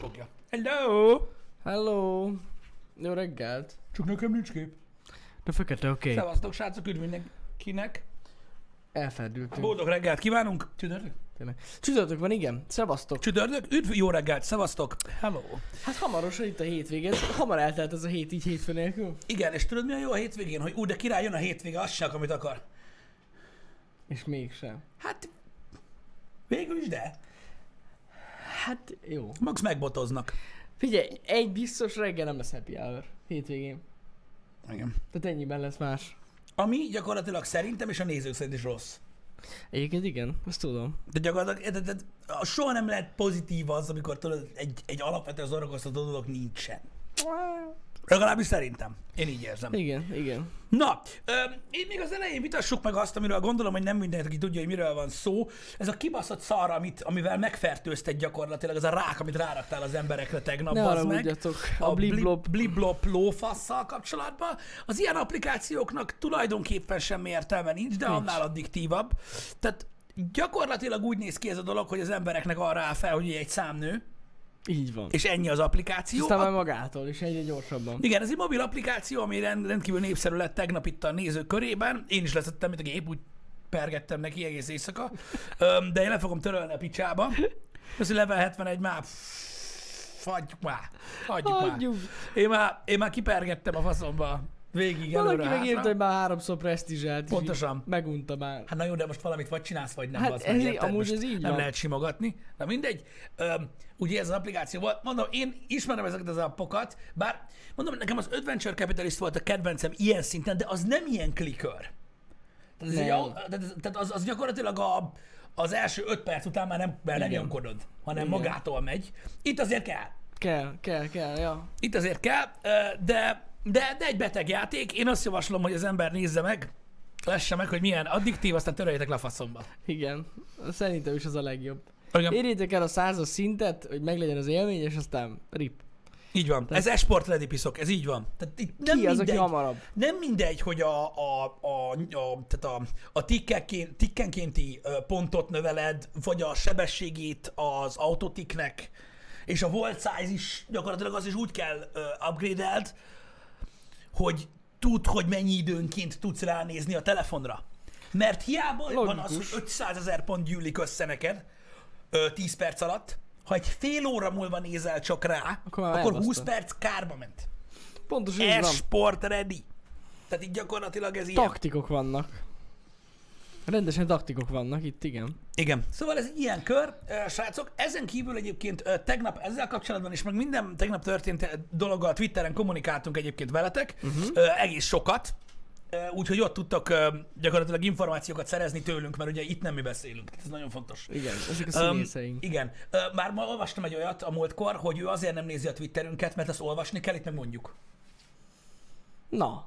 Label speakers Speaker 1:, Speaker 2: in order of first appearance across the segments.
Speaker 1: fogja. Hello!
Speaker 2: Hello! Jó reggelt!
Speaker 1: Csak nekem nincs kép.
Speaker 2: De fekete, oké. Okay.
Speaker 1: Szevasztok, srácok, üdv mindenkinek.
Speaker 2: Elferdültünk.
Speaker 1: Boldog reggelt kívánunk. Csütörtök?
Speaker 2: Tényleg. Csütörtök van, igen. Szevasztok.
Speaker 1: Csütörtök? Üdv, jó reggelt, szevasztok. Hello.
Speaker 2: Hát hamarosan itt a hétvége. Ez Hamar eltelt ez a hét így hétfő nélkül.
Speaker 1: Igen, és tudod mi a jó a hétvégén? Hogy ú, de király jön a hétvége, azt csak, amit akar.
Speaker 2: És mégsem.
Speaker 1: Hát, végül is de.
Speaker 2: Hát jó.
Speaker 1: Max megbotoznak.
Speaker 2: Figyelj, egy biztos reggel nem lesz happy hour hétvégén.
Speaker 1: Igen.
Speaker 2: Tehát ennyiben lesz más.
Speaker 1: Ami gyakorlatilag szerintem és a nézők szerint is rossz.
Speaker 2: Egyébként igen, ezt tudom.
Speaker 1: De gyakorlatilag de, de, de, soha nem lehet pozitív az, amikor tudod, egy, egy alapvető zorakoztató dolog nincsen. Legalábbis szerintem. Én így érzem.
Speaker 2: Igen, igen.
Speaker 1: Na, öm, én még az elején vitassuk meg azt, amiről gondolom, hogy nem mindenki tudja, hogy miről van szó. Ez a kibaszott szar, amit, amivel megfertőzted gyakorlatilag, ez a rák, amit ráraktál az emberekre tegnap,
Speaker 2: Ne
Speaker 1: bazd
Speaker 2: arra
Speaker 1: meg.
Speaker 2: mondjatok, a, a bliblop.
Speaker 1: bliblop lófasszal kapcsolatban. Az ilyen applikációknak tulajdonképpen semmi értelme nincs, de annál addiktívabb. Tehát gyakorlatilag úgy néz ki ez a dolog, hogy az embereknek arra áll fel, hogy egy számnő,
Speaker 2: Így van.
Speaker 1: és ennyi az applikáció.
Speaker 2: Aztán
Speaker 1: A-
Speaker 2: már magától is egyre gyorsabban.
Speaker 1: igen, ez egy mobil applikáció, ami rend, rendkívül népszerű lett tegnap itt a nézők körében. Én is leszettem, mint a gép, úgy pergettem neki egész éjszaka. Öm, de én le fogom törölni a picsába. Ez a level 71 már... pff, Hagyjuk már. Hagyjuk,
Speaker 2: Hagyjuk.
Speaker 1: már. Én már. Én már kipergettem a faszomba. Végig
Speaker 2: Valaki
Speaker 1: előre
Speaker 2: megírta,
Speaker 1: hátra.
Speaker 2: hogy hát már háromszor presztizsált. és
Speaker 1: Pontosan.
Speaker 2: így Megunta már.
Speaker 1: Hát na jó, de most valamit vagy csinálsz, vagy nem.
Speaker 2: Hát
Speaker 1: bazd
Speaker 2: ez
Speaker 1: meg,
Speaker 2: í-
Speaker 1: érted?
Speaker 2: amúgy
Speaker 1: Most
Speaker 2: ez
Speaker 1: Nem
Speaker 2: így van.
Speaker 1: lehet simogatni. Na mindegy. Öm, ugye ez az applikáció volt. Mondom, én ismerem ezeket az appokat, bár mondom, nekem az Adventure Capitalist volt a kedvencem ilyen szinten, de az nem ilyen clicker. Tehát, ez
Speaker 2: Nem.
Speaker 1: egy, au- tehát ez- tehát az, az gyakorlatilag a, az első öt perc után már nem, már nem
Speaker 2: Igen.
Speaker 1: nyomkodod, hanem
Speaker 2: Igen.
Speaker 1: magától megy. Itt azért kell.
Speaker 2: Kell, kell, kell, ja.
Speaker 1: Itt azért kell, ö, de, de, de egy beteg játék. Én azt javaslom, hogy az ember nézze meg, lesse meg, hogy milyen addiktív, aztán töröljétek le a faszomba.
Speaker 2: Igen. Szerintem is az a legjobb.
Speaker 1: Igen.
Speaker 2: Érjétek el a százas szintet, hogy meglegyen az élmény, és aztán rip.
Speaker 1: Így van. Tehát... Ez esport ledipiszok, ez így van. Tehát itt nem
Speaker 2: Ki az, aki
Speaker 1: mindegy,
Speaker 2: hamarabb?
Speaker 1: Nem mindegy, hogy a, a, a, a, tehát a, a tikkenként, tikkenkénti ö, pontot növeled, vagy a sebességét az autotiknek, és a volt size is gyakorlatilag az is úgy kell ö, upgrade-eld, hogy tud, hogy mennyi időnként tudsz ránézni a telefonra. Mert hiába van az, hogy
Speaker 2: Logikus.
Speaker 1: 500 ezer pont gyűlik össze neked ö, 10 perc alatt, ha egy fél óra múlva nézel csak rá, akkor,
Speaker 2: Akkor már
Speaker 1: akkor 20
Speaker 2: elbasztod.
Speaker 1: perc kárba ment.
Speaker 2: Pontosan így van.
Speaker 1: Esport ready. Tehát itt gyakorlatilag ez ilyen.
Speaker 2: Taktikok vannak. Rendesen taktikok vannak itt, igen.
Speaker 1: Igen. Szóval ez ilyen kör, ö, srácok. Ezen kívül egyébként ö, tegnap ezzel kapcsolatban is, meg minden tegnap történt ö, dologgal Twitteren kommunikáltunk egyébként veletek, uh-huh. egész sokat. Ö, Úgyhogy ott tudtak ö, gyakorlatilag információkat szerezni tőlünk, mert ugye itt nem mi beszélünk. Ez nagyon fontos.
Speaker 2: Igen, ezek a
Speaker 1: Öm,
Speaker 2: színészeink.
Speaker 1: igen. Ö, Már ma olvastam egy olyat a múltkor, hogy ő azért nem nézi a Twitterünket, mert azt olvasni kell, itt meg
Speaker 2: Hát
Speaker 1: mondjuk.
Speaker 2: Na.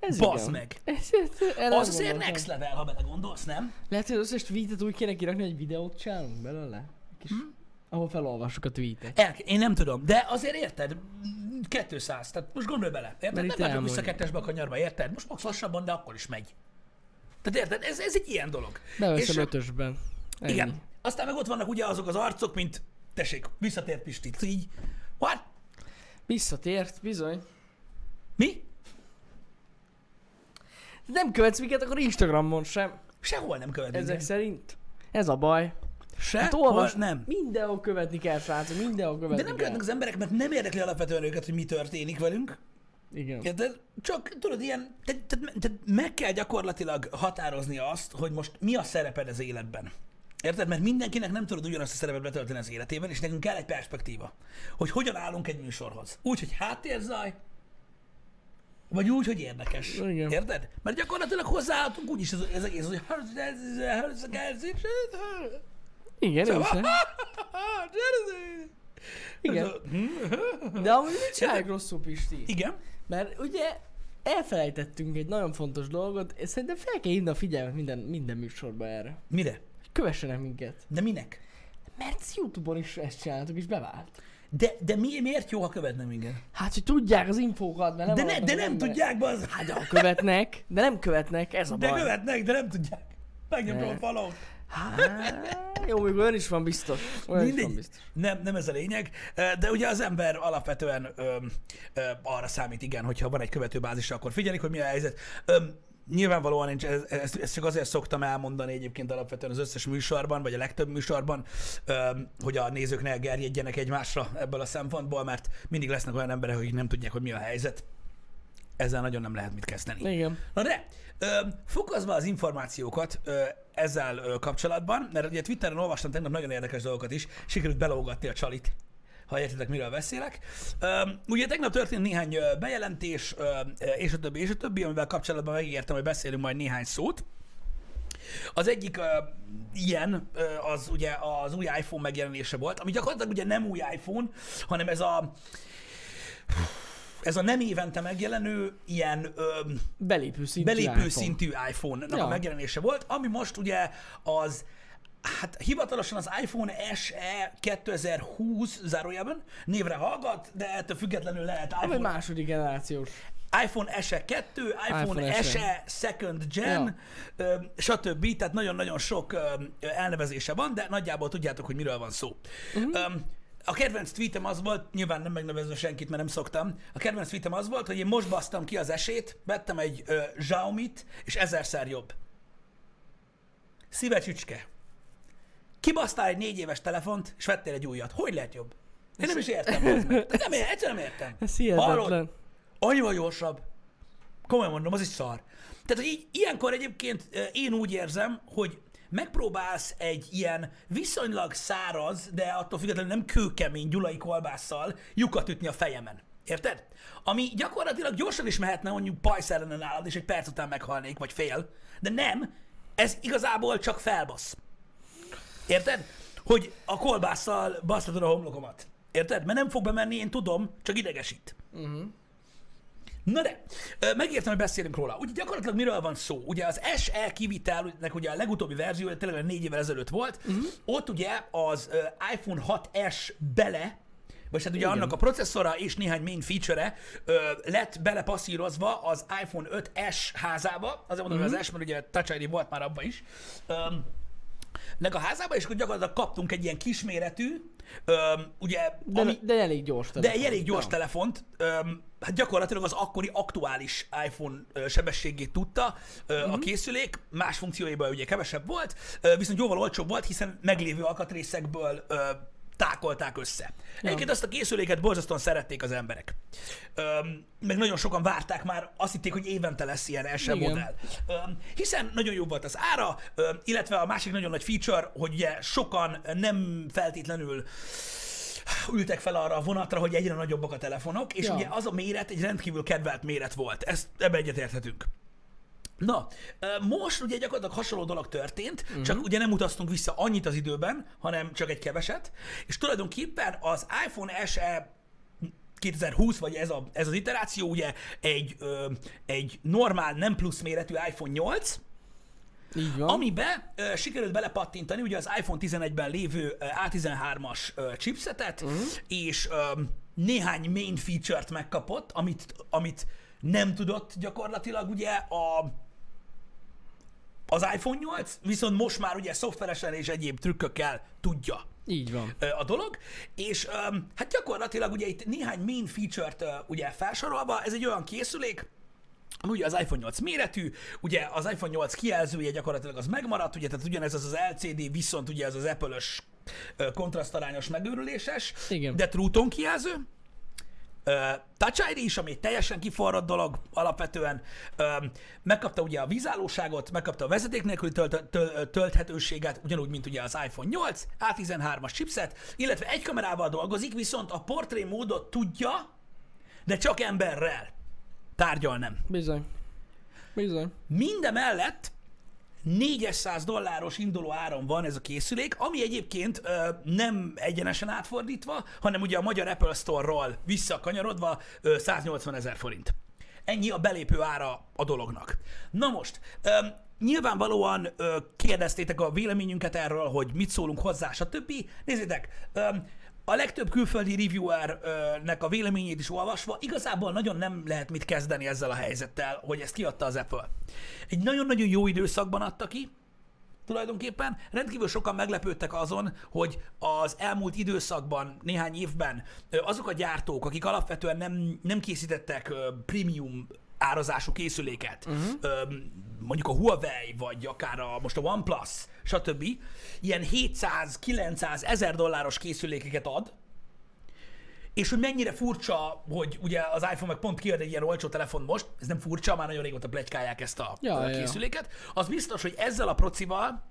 Speaker 2: Ez
Speaker 1: Bazd
Speaker 2: igen.
Speaker 1: meg.
Speaker 2: Ez, ez, erre
Speaker 1: Az azért
Speaker 2: gondoltam.
Speaker 1: next level, ha belegondolsz, nem?
Speaker 2: Lehet, hogy az összes tweetet úgy kéne kirakni, hogy videót csinálunk belőle. Kis,
Speaker 1: Hm?
Speaker 2: Ahol felolvassuk a tweetet.
Speaker 1: El, én nem tudom, de azért érted, 200, tehát most gondolj bele, érted?
Speaker 2: Mert
Speaker 1: Nem
Speaker 2: itt
Speaker 1: vagyok
Speaker 2: elmondja.
Speaker 1: vissza kettesbe a kanyarba, érted? Most max lassabban, de akkor is megy. Tehát érted, ez, ez egy ilyen dolog.
Speaker 2: Beveszem ötösben. Ennyi.
Speaker 1: igen, aztán meg ott vannak ugye azok az arcok, mint, tessék, visszatért Pisti, így, what?
Speaker 2: Visszatért, bizony.
Speaker 1: Mi?
Speaker 2: Nem követsz minket, akkor Instagramon sem.
Speaker 1: Sehol nem követ
Speaker 2: Ezek
Speaker 1: minket.
Speaker 2: szerint. Ez a baj. Hát
Speaker 1: Sehol
Speaker 2: olvas,
Speaker 1: nem.
Speaker 2: Mindenhol követni kell, srácok, mindenhol követni
Speaker 1: De nem
Speaker 2: kell.
Speaker 1: követnek az emberek, mert nem érdekli alapvetően őket, hogy mi történik velünk.
Speaker 2: Igen.
Speaker 1: Érted? Csak tudod, ilyen, te, te, te meg kell gyakorlatilag határozni azt, hogy most mi a szereped az életben. Érted? Mert mindenkinek nem tudod ugyanazt a szerepet betölteni az életében, és nekünk kell egy perspektíva, hogy hogyan állunk egy műsorhoz. Úgy, hogy háttérzaj, vagy úgy, hogy érdekes.
Speaker 2: Igen.
Speaker 1: Érted? Mert gyakorlatilag hozzáálltunk úgy is az, az egész, hogy
Speaker 2: Igen, én sem. Igen. De amúgy mit csinálják rosszul, Pisti?
Speaker 1: Igen.
Speaker 2: Mert ugye elfelejtettünk egy nagyon fontos dolgot, és szerintem fel kell hívni a figyelmet minden, minden műsorba erre.
Speaker 1: Mire?
Speaker 2: Kövessenek minket.
Speaker 1: De minek?
Speaker 2: Mert Youtube-on is ezt csináltuk, és bevált.
Speaker 1: De, de mi, miért jó, ha követne minket?
Speaker 2: Hát, hogy tudják az infókat, mert nem
Speaker 1: De, ne,
Speaker 2: hallgatnak
Speaker 1: de
Speaker 2: az
Speaker 1: nem
Speaker 2: emberek.
Speaker 1: tudják, bazd! Hát,
Speaker 2: Követnek, de nem követnek, ez a
Speaker 1: de
Speaker 2: baj.
Speaker 1: követnek, de nem tudják. Megnyomtam
Speaker 2: Ne.
Speaker 1: a falon.
Speaker 2: Hát, jó, még olyan is van biztos. Olyan is van
Speaker 1: Mindegy.
Speaker 2: biztos.
Speaker 1: Nem, nem ez a lényeg, Eh, de ugye az ember alapvetően öm, ö, arra számít, igen, hogyha van egy követőbázisa, akkor figyelik, hogy mi a helyzet. Öm, nyilvánvalóan én ezt, ezt, ezt csak azért szoktam elmondani egyébként alapvetően az összes műsorban, vagy a legtöbb műsorban, öm, hogy a nézők ne elgerjedjenek egymásra ebből a szempontból, mert mindig lesznek olyan emberek, akik nem tudják, hogy mi a helyzet. Ezzel nagyon nem lehet mit kezdeni.
Speaker 2: Igen.
Speaker 1: Na de, ö, fokozva az információkat ö, ezzel ö, kapcsolatban, mert ugye Twitteren olvastam tegnap nagyon érdekes dolgokat is, sikerült belógatni a csalit, ha értitek, miről beszélek. Ö, ugye tegnap történt néhány ö, bejelentés, ö, és a többi, és a többi, amivel kapcsolatban megígértem, hogy beszélünk majd néhány szót. Az egyik ö, ilyen ö, az ugye az új iPhone megjelenése volt, ami gyakorlatilag ugye nem új iPhone, hanem ez a ez a nem évente megjelenő ilyen ö,
Speaker 2: Belépő szintű
Speaker 1: belépő
Speaker 2: iPhone.
Speaker 1: szintű iPhone-nak
Speaker 2: Ja.
Speaker 1: a megjelenése volt, ami most ugye az Hát hivatalosan az iPhone SE 2020 zárójában névre hallgat, de ettől függetlenül lehet
Speaker 2: Vagy
Speaker 1: iPhone,
Speaker 2: második generációs.
Speaker 1: iPhone SE 2, iPhone,
Speaker 2: iPhone E.
Speaker 1: iPhone
Speaker 2: SE.
Speaker 1: SE Second Gen, ö, stb. Tehát nagyon-nagyon sok ö, ö, elnevezése van, de nagyjából tudjátok, hogy miről van szó.
Speaker 2: Mhm.
Speaker 1: Ö, A kedvenc tweetem az volt, nyilván nem megnevezve senkit, mert nem szoktam, a kedvenc tweetem az volt, hogy én most basztam ki az esét, vettem egy ö, Xiaomi-t, és ezerszer jobb. Szíve csücske. Kibasztál egy négy éves telefont, és vettél egy újat. Hogy lehet jobb? Én nem is értem. bazd meg. De Nem, ér- egyszerűen nem értem.
Speaker 2: Ez
Speaker 1: Hallod?
Speaker 2: hihetetlen.
Speaker 1: Annyival gyorsabb. Komolyan mondom, az egy szar. Tehát, hogy így, ilyenkor egyébként eh, én úgy érzem, hogy megpróbálsz egy ilyen viszonylag száraz, de attól függetlenül nem kőkemény gyulai kolbásszal lyukat ütni a fejemen. Érted? Ami gyakorlatilag gyorsan is mehetne mondjuk pajsz ellene nálad, és egy perc után meghalnék, vagy fél, de nem, ez igazából csak felbasz. Érted? Hogy a kolbásszal basztatod a homlokomat. Érted? Mert nem fog bemenni, én tudom, csak idegesít. Na de, ö, megértem, hogy beszélünk róla. Ugye gyakorlatilag miről van szó? Ugye az SE kivitelnek ugye a legutóbbi verziója tényleg négy évvel ezelőtt volt, uh-huh. ott ugye az ö, iPhone 6S bele, vagy hát ugye Igen. annak a processzora és néhány main feature-e ö, lett belepasszírozva az iPhone 5S házába, azért mondom, hogy az S, mert ugye Touch ID volt már abban is, öm, nek a házába, és akkor gyakorlatilag kaptunk egy ilyen kisméretű, öm, ugye,
Speaker 2: De,
Speaker 1: ami,
Speaker 2: de elég gyors
Speaker 1: de
Speaker 2: telefon.
Speaker 1: egy elég gyors
Speaker 2: Ja.
Speaker 1: telefont, öm, hát gyakorlatilag az akkori aktuális iPhone ö, sebességét tudta ö, a készülék, más funkcióiban ugye kevesebb volt, ö, viszont jóval olcsóbb volt, hiszen meglévő alkatrészekből ö, tákolták össze. Egyébként azt a készüléket borzasztóan szerették az emberek. Öm, meg nagyon sokan várták már, azt hitték, hogy évente lesz ilyen SE
Speaker 2: Igen.
Speaker 1: modell. Öm, hiszen nagyon jó volt az ára, öm, illetve a másik nagyon nagy feature, hogy ugye sokan nem feltétlenül ültek fel arra a vonatra, hogy egyre nagyobbak a telefonok, és
Speaker 2: Ja.
Speaker 1: ja. ugye az a méret egy rendkívül kedvelt méret volt. Ezt ebbe egyetérthetünk. Na, ö, most ugye gyakorlatilag hasonló dolog történt, uh-huh. csak ugye nem utaztunk vissza annyit az időben, hanem csak egy keveset, és tulajdonképpen az iPhone SE 2020, vagy ez, a, ez az iteráció ugye egy, ö, egy normál, nem plusz méretű iPhone 8,
Speaker 2: Így van.
Speaker 1: amibe ö, sikerült belepattintani ugye az iPhone 11-ben lévő ö, A13-as ö, chipsetet, uh-huh. és ö, néhány main feature-t megkapott, amit, amit nem tudott gyakorlatilag ugye a az iPhone 8, viszont most már ugye szoftveresen és egyéb trükkökkel tudja
Speaker 2: Így van.
Speaker 1: ö, a dolog, és öm, hát gyakorlatilag ugye itt néhány main feature-t ö, ugye felsorolva, ez egy olyan készülék, ami ugye az iPhone 8 méretű, ugye az iPhone 8 kijelzője gyakorlatilag az megmaradt, ugye tehát ugyanez az az LCD, viszont ugye ez az Apple-ös ö, kontrasztarányos megőrüléses,
Speaker 2: Igen.
Speaker 1: de True Tone kijelző, Ö, Touch ID is, ami egy teljesen kiforrott dolog alapvetően. Ö, Megkapta ugye a vízállóságot, megkapta a vezeték nélküli tölt- töl- tölthetőséget, ugyanúgy, mint ugye az iPhone 8, A13-as chipset, illetve egy kamerával dolgozik, viszont a portré módot tudja, de csak emberrel. Tárgyal nem.
Speaker 2: Bizony. Bizony.
Speaker 1: Mindemellett 400 dolláros induló áron van ez a készülék, ami egyébként ö, nem egyenesen átfordítva, hanem ugye a magyar Apple Store-ról visszakanyarodva ö, 180 ezer forint. Ennyi a belépő ára a dolognak. Na most, ö, nyilvánvalóan ö, kérdeztétek a véleményünket erről, hogy mit szólunk hozzá, stb. Nézzétek, ö, a legtöbb külföldi reviewernek a véleményét is olvasva, igazából nagyon nem lehet mit kezdeni ezzel a helyzettel, hogy ezt kiadta az Apple. Egy nagyon-nagyon jó időszakban adta ki, tulajdonképpen. Rendkívül sokan meglepődtek azon, hogy az elmúlt időszakban, néhány évben ö, azok a gyártók, akik alapvetően nem, nem készítettek ö, premium árazású készüléket, uh-huh. mondjuk a Huawei, vagy akár a, most a OnePlus, stb. ilyen 700-900 ezer dolláros készülékeket ad, és hogy mennyire furcsa, hogy ugye az iPhone meg pont kiad egy ilyen olcsó telefon most, ez nem furcsa, már nagyon régóta plegykálják ezt a
Speaker 2: Ja,
Speaker 1: ja,
Speaker 2: ja, ja.
Speaker 1: készüléket, az biztos, hogy ezzel a procival,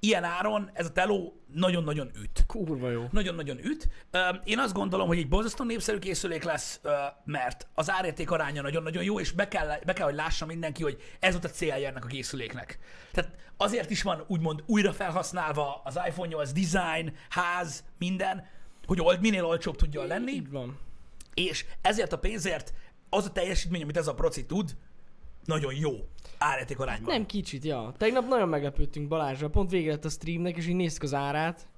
Speaker 1: ilyen áron ez a teló nagyon-nagyon üt.
Speaker 2: Kurva jó.
Speaker 1: Nagyon-nagyon üt. Öm, Én azt gondolom, hogy egy borzasztó népszerű készülék lesz, ö, mert az árérték aránya nagyon-nagyon jó, és be kell, be kell, hogy lássa mindenki, hogy ez volt a célja ennek a készüléknek. Tehát azért is van úgymond újra felhasználva az iPhone 8 design, ház, minden, hogy old, minél olcsóbb tudjon lenni,
Speaker 2: Így van.
Speaker 1: és ezért a pénzért az a teljesítmény, amit ez a proci tud, nagyon jó árérték arányban.
Speaker 2: Hát Nem kicsit, ja. Tegnap nagyon meglepődtünk Balázsra, pont végre lett a streamnek, és így néztük az árát.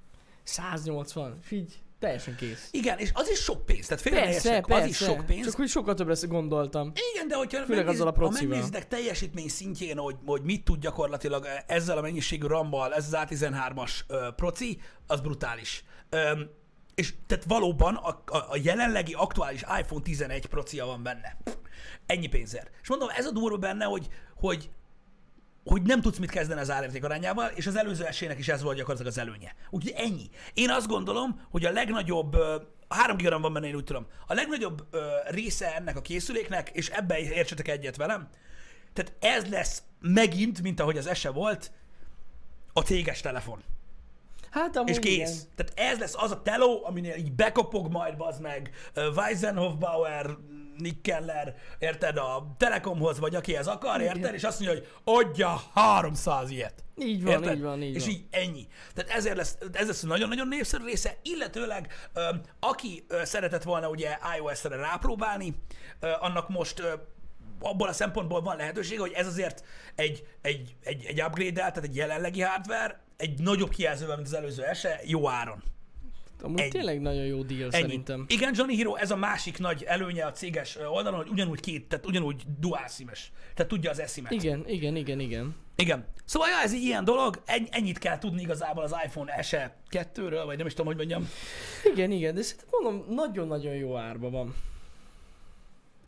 Speaker 2: 180, és így teljesen kész.
Speaker 1: Igen, és az is sok pénz, tehát félre ne
Speaker 2: Persze,
Speaker 1: értsenek,
Speaker 2: persze.
Speaker 1: az is sok pénz.
Speaker 2: Csak hogy sokkal többre gondoltam.
Speaker 1: Igen, de hogyha
Speaker 2: Főleg
Speaker 1: megnéz-
Speaker 2: azzal a
Speaker 1: ha
Speaker 2: procival.
Speaker 1: megnézitek teljesítmény szintjén, hogy, hogy mit tud gyakorlatilag ezzel a mennyiségű rammal, ez az A13-as ö, proci, az brutális. Öm, és tehát valóban a, a, a jelenlegi aktuális iPhone 11 procia van benne. Ennyi pénzért. És mondom, ez a durva benne, hogy, hogy hogy nem tudsz mit kezdeni az árérték arányával, és az előző esélynek is ez volt gyakorlatilag az előnye. Úgyhogy ennyi. Én azt gondolom, hogy a legnagyobb, ö, 3 GB van benne, én úgy tudom, a legnagyobb ö, része ennek a készüléknek, és ebben értsetek egyet velem, tehát ez lesz megint, mint ahogy az ese volt, a céges telefon.
Speaker 2: Hát amúgy
Speaker 1: És kész.
Speaker 2: Igen.
Speaker 1: Tehát ez lesz az a teló, aminél így bekopog majd, bazd meg, ö, Weisenhofbauer, Nick Keller, érted, a Telekomhoz, vagy akihez akar, érted, és azt mondja, hogy adja 300 ilyet.
Speaker 2: Így van, így van, így
Speaker 1: És
Speaker 2: van.
Speaker 1: így ennyi. Tehát ezért lesz, ez lesz a nagyon-nagyon népszerű része, illetőleg ö, aki ö, szeretett volna ugye iOS-re rápróbálni, ö, annak most ö, abból a szempontból van lehetősége, hogy ez azért egy, egy, egy, egy upgrade tehát egy jelenlegi hardware, egy nagyobb kijelzővel, mint az előző ese, jó áron.
Speaker 2: Amúgy
Speaker 1: Ennyi.
Speaker 2: tényleg nagyon jó deal
Speaker 1: Ennyi.
Speaker 2: szerintem.
Speaker 1: Igen, Johnny Hero, ez a másik nagy előnye a céges ö, oldalon, hogy ugyanúgy két, tehát ugyanúgy dual szímes. Tehát tudja az eszimet.
Speaker 2: Igen, igen, igen, igen.
Speaker 1: Igen. Szóval ja, ez egy ilyen dolog, en- ennyit kell tudni igazából az iPhone SE 2-ről, vagy nem is tudom, hogy mondjam.
Speaker 2: Igen, igen, de szerintem mondom, nagyon-nagyon jó árba van.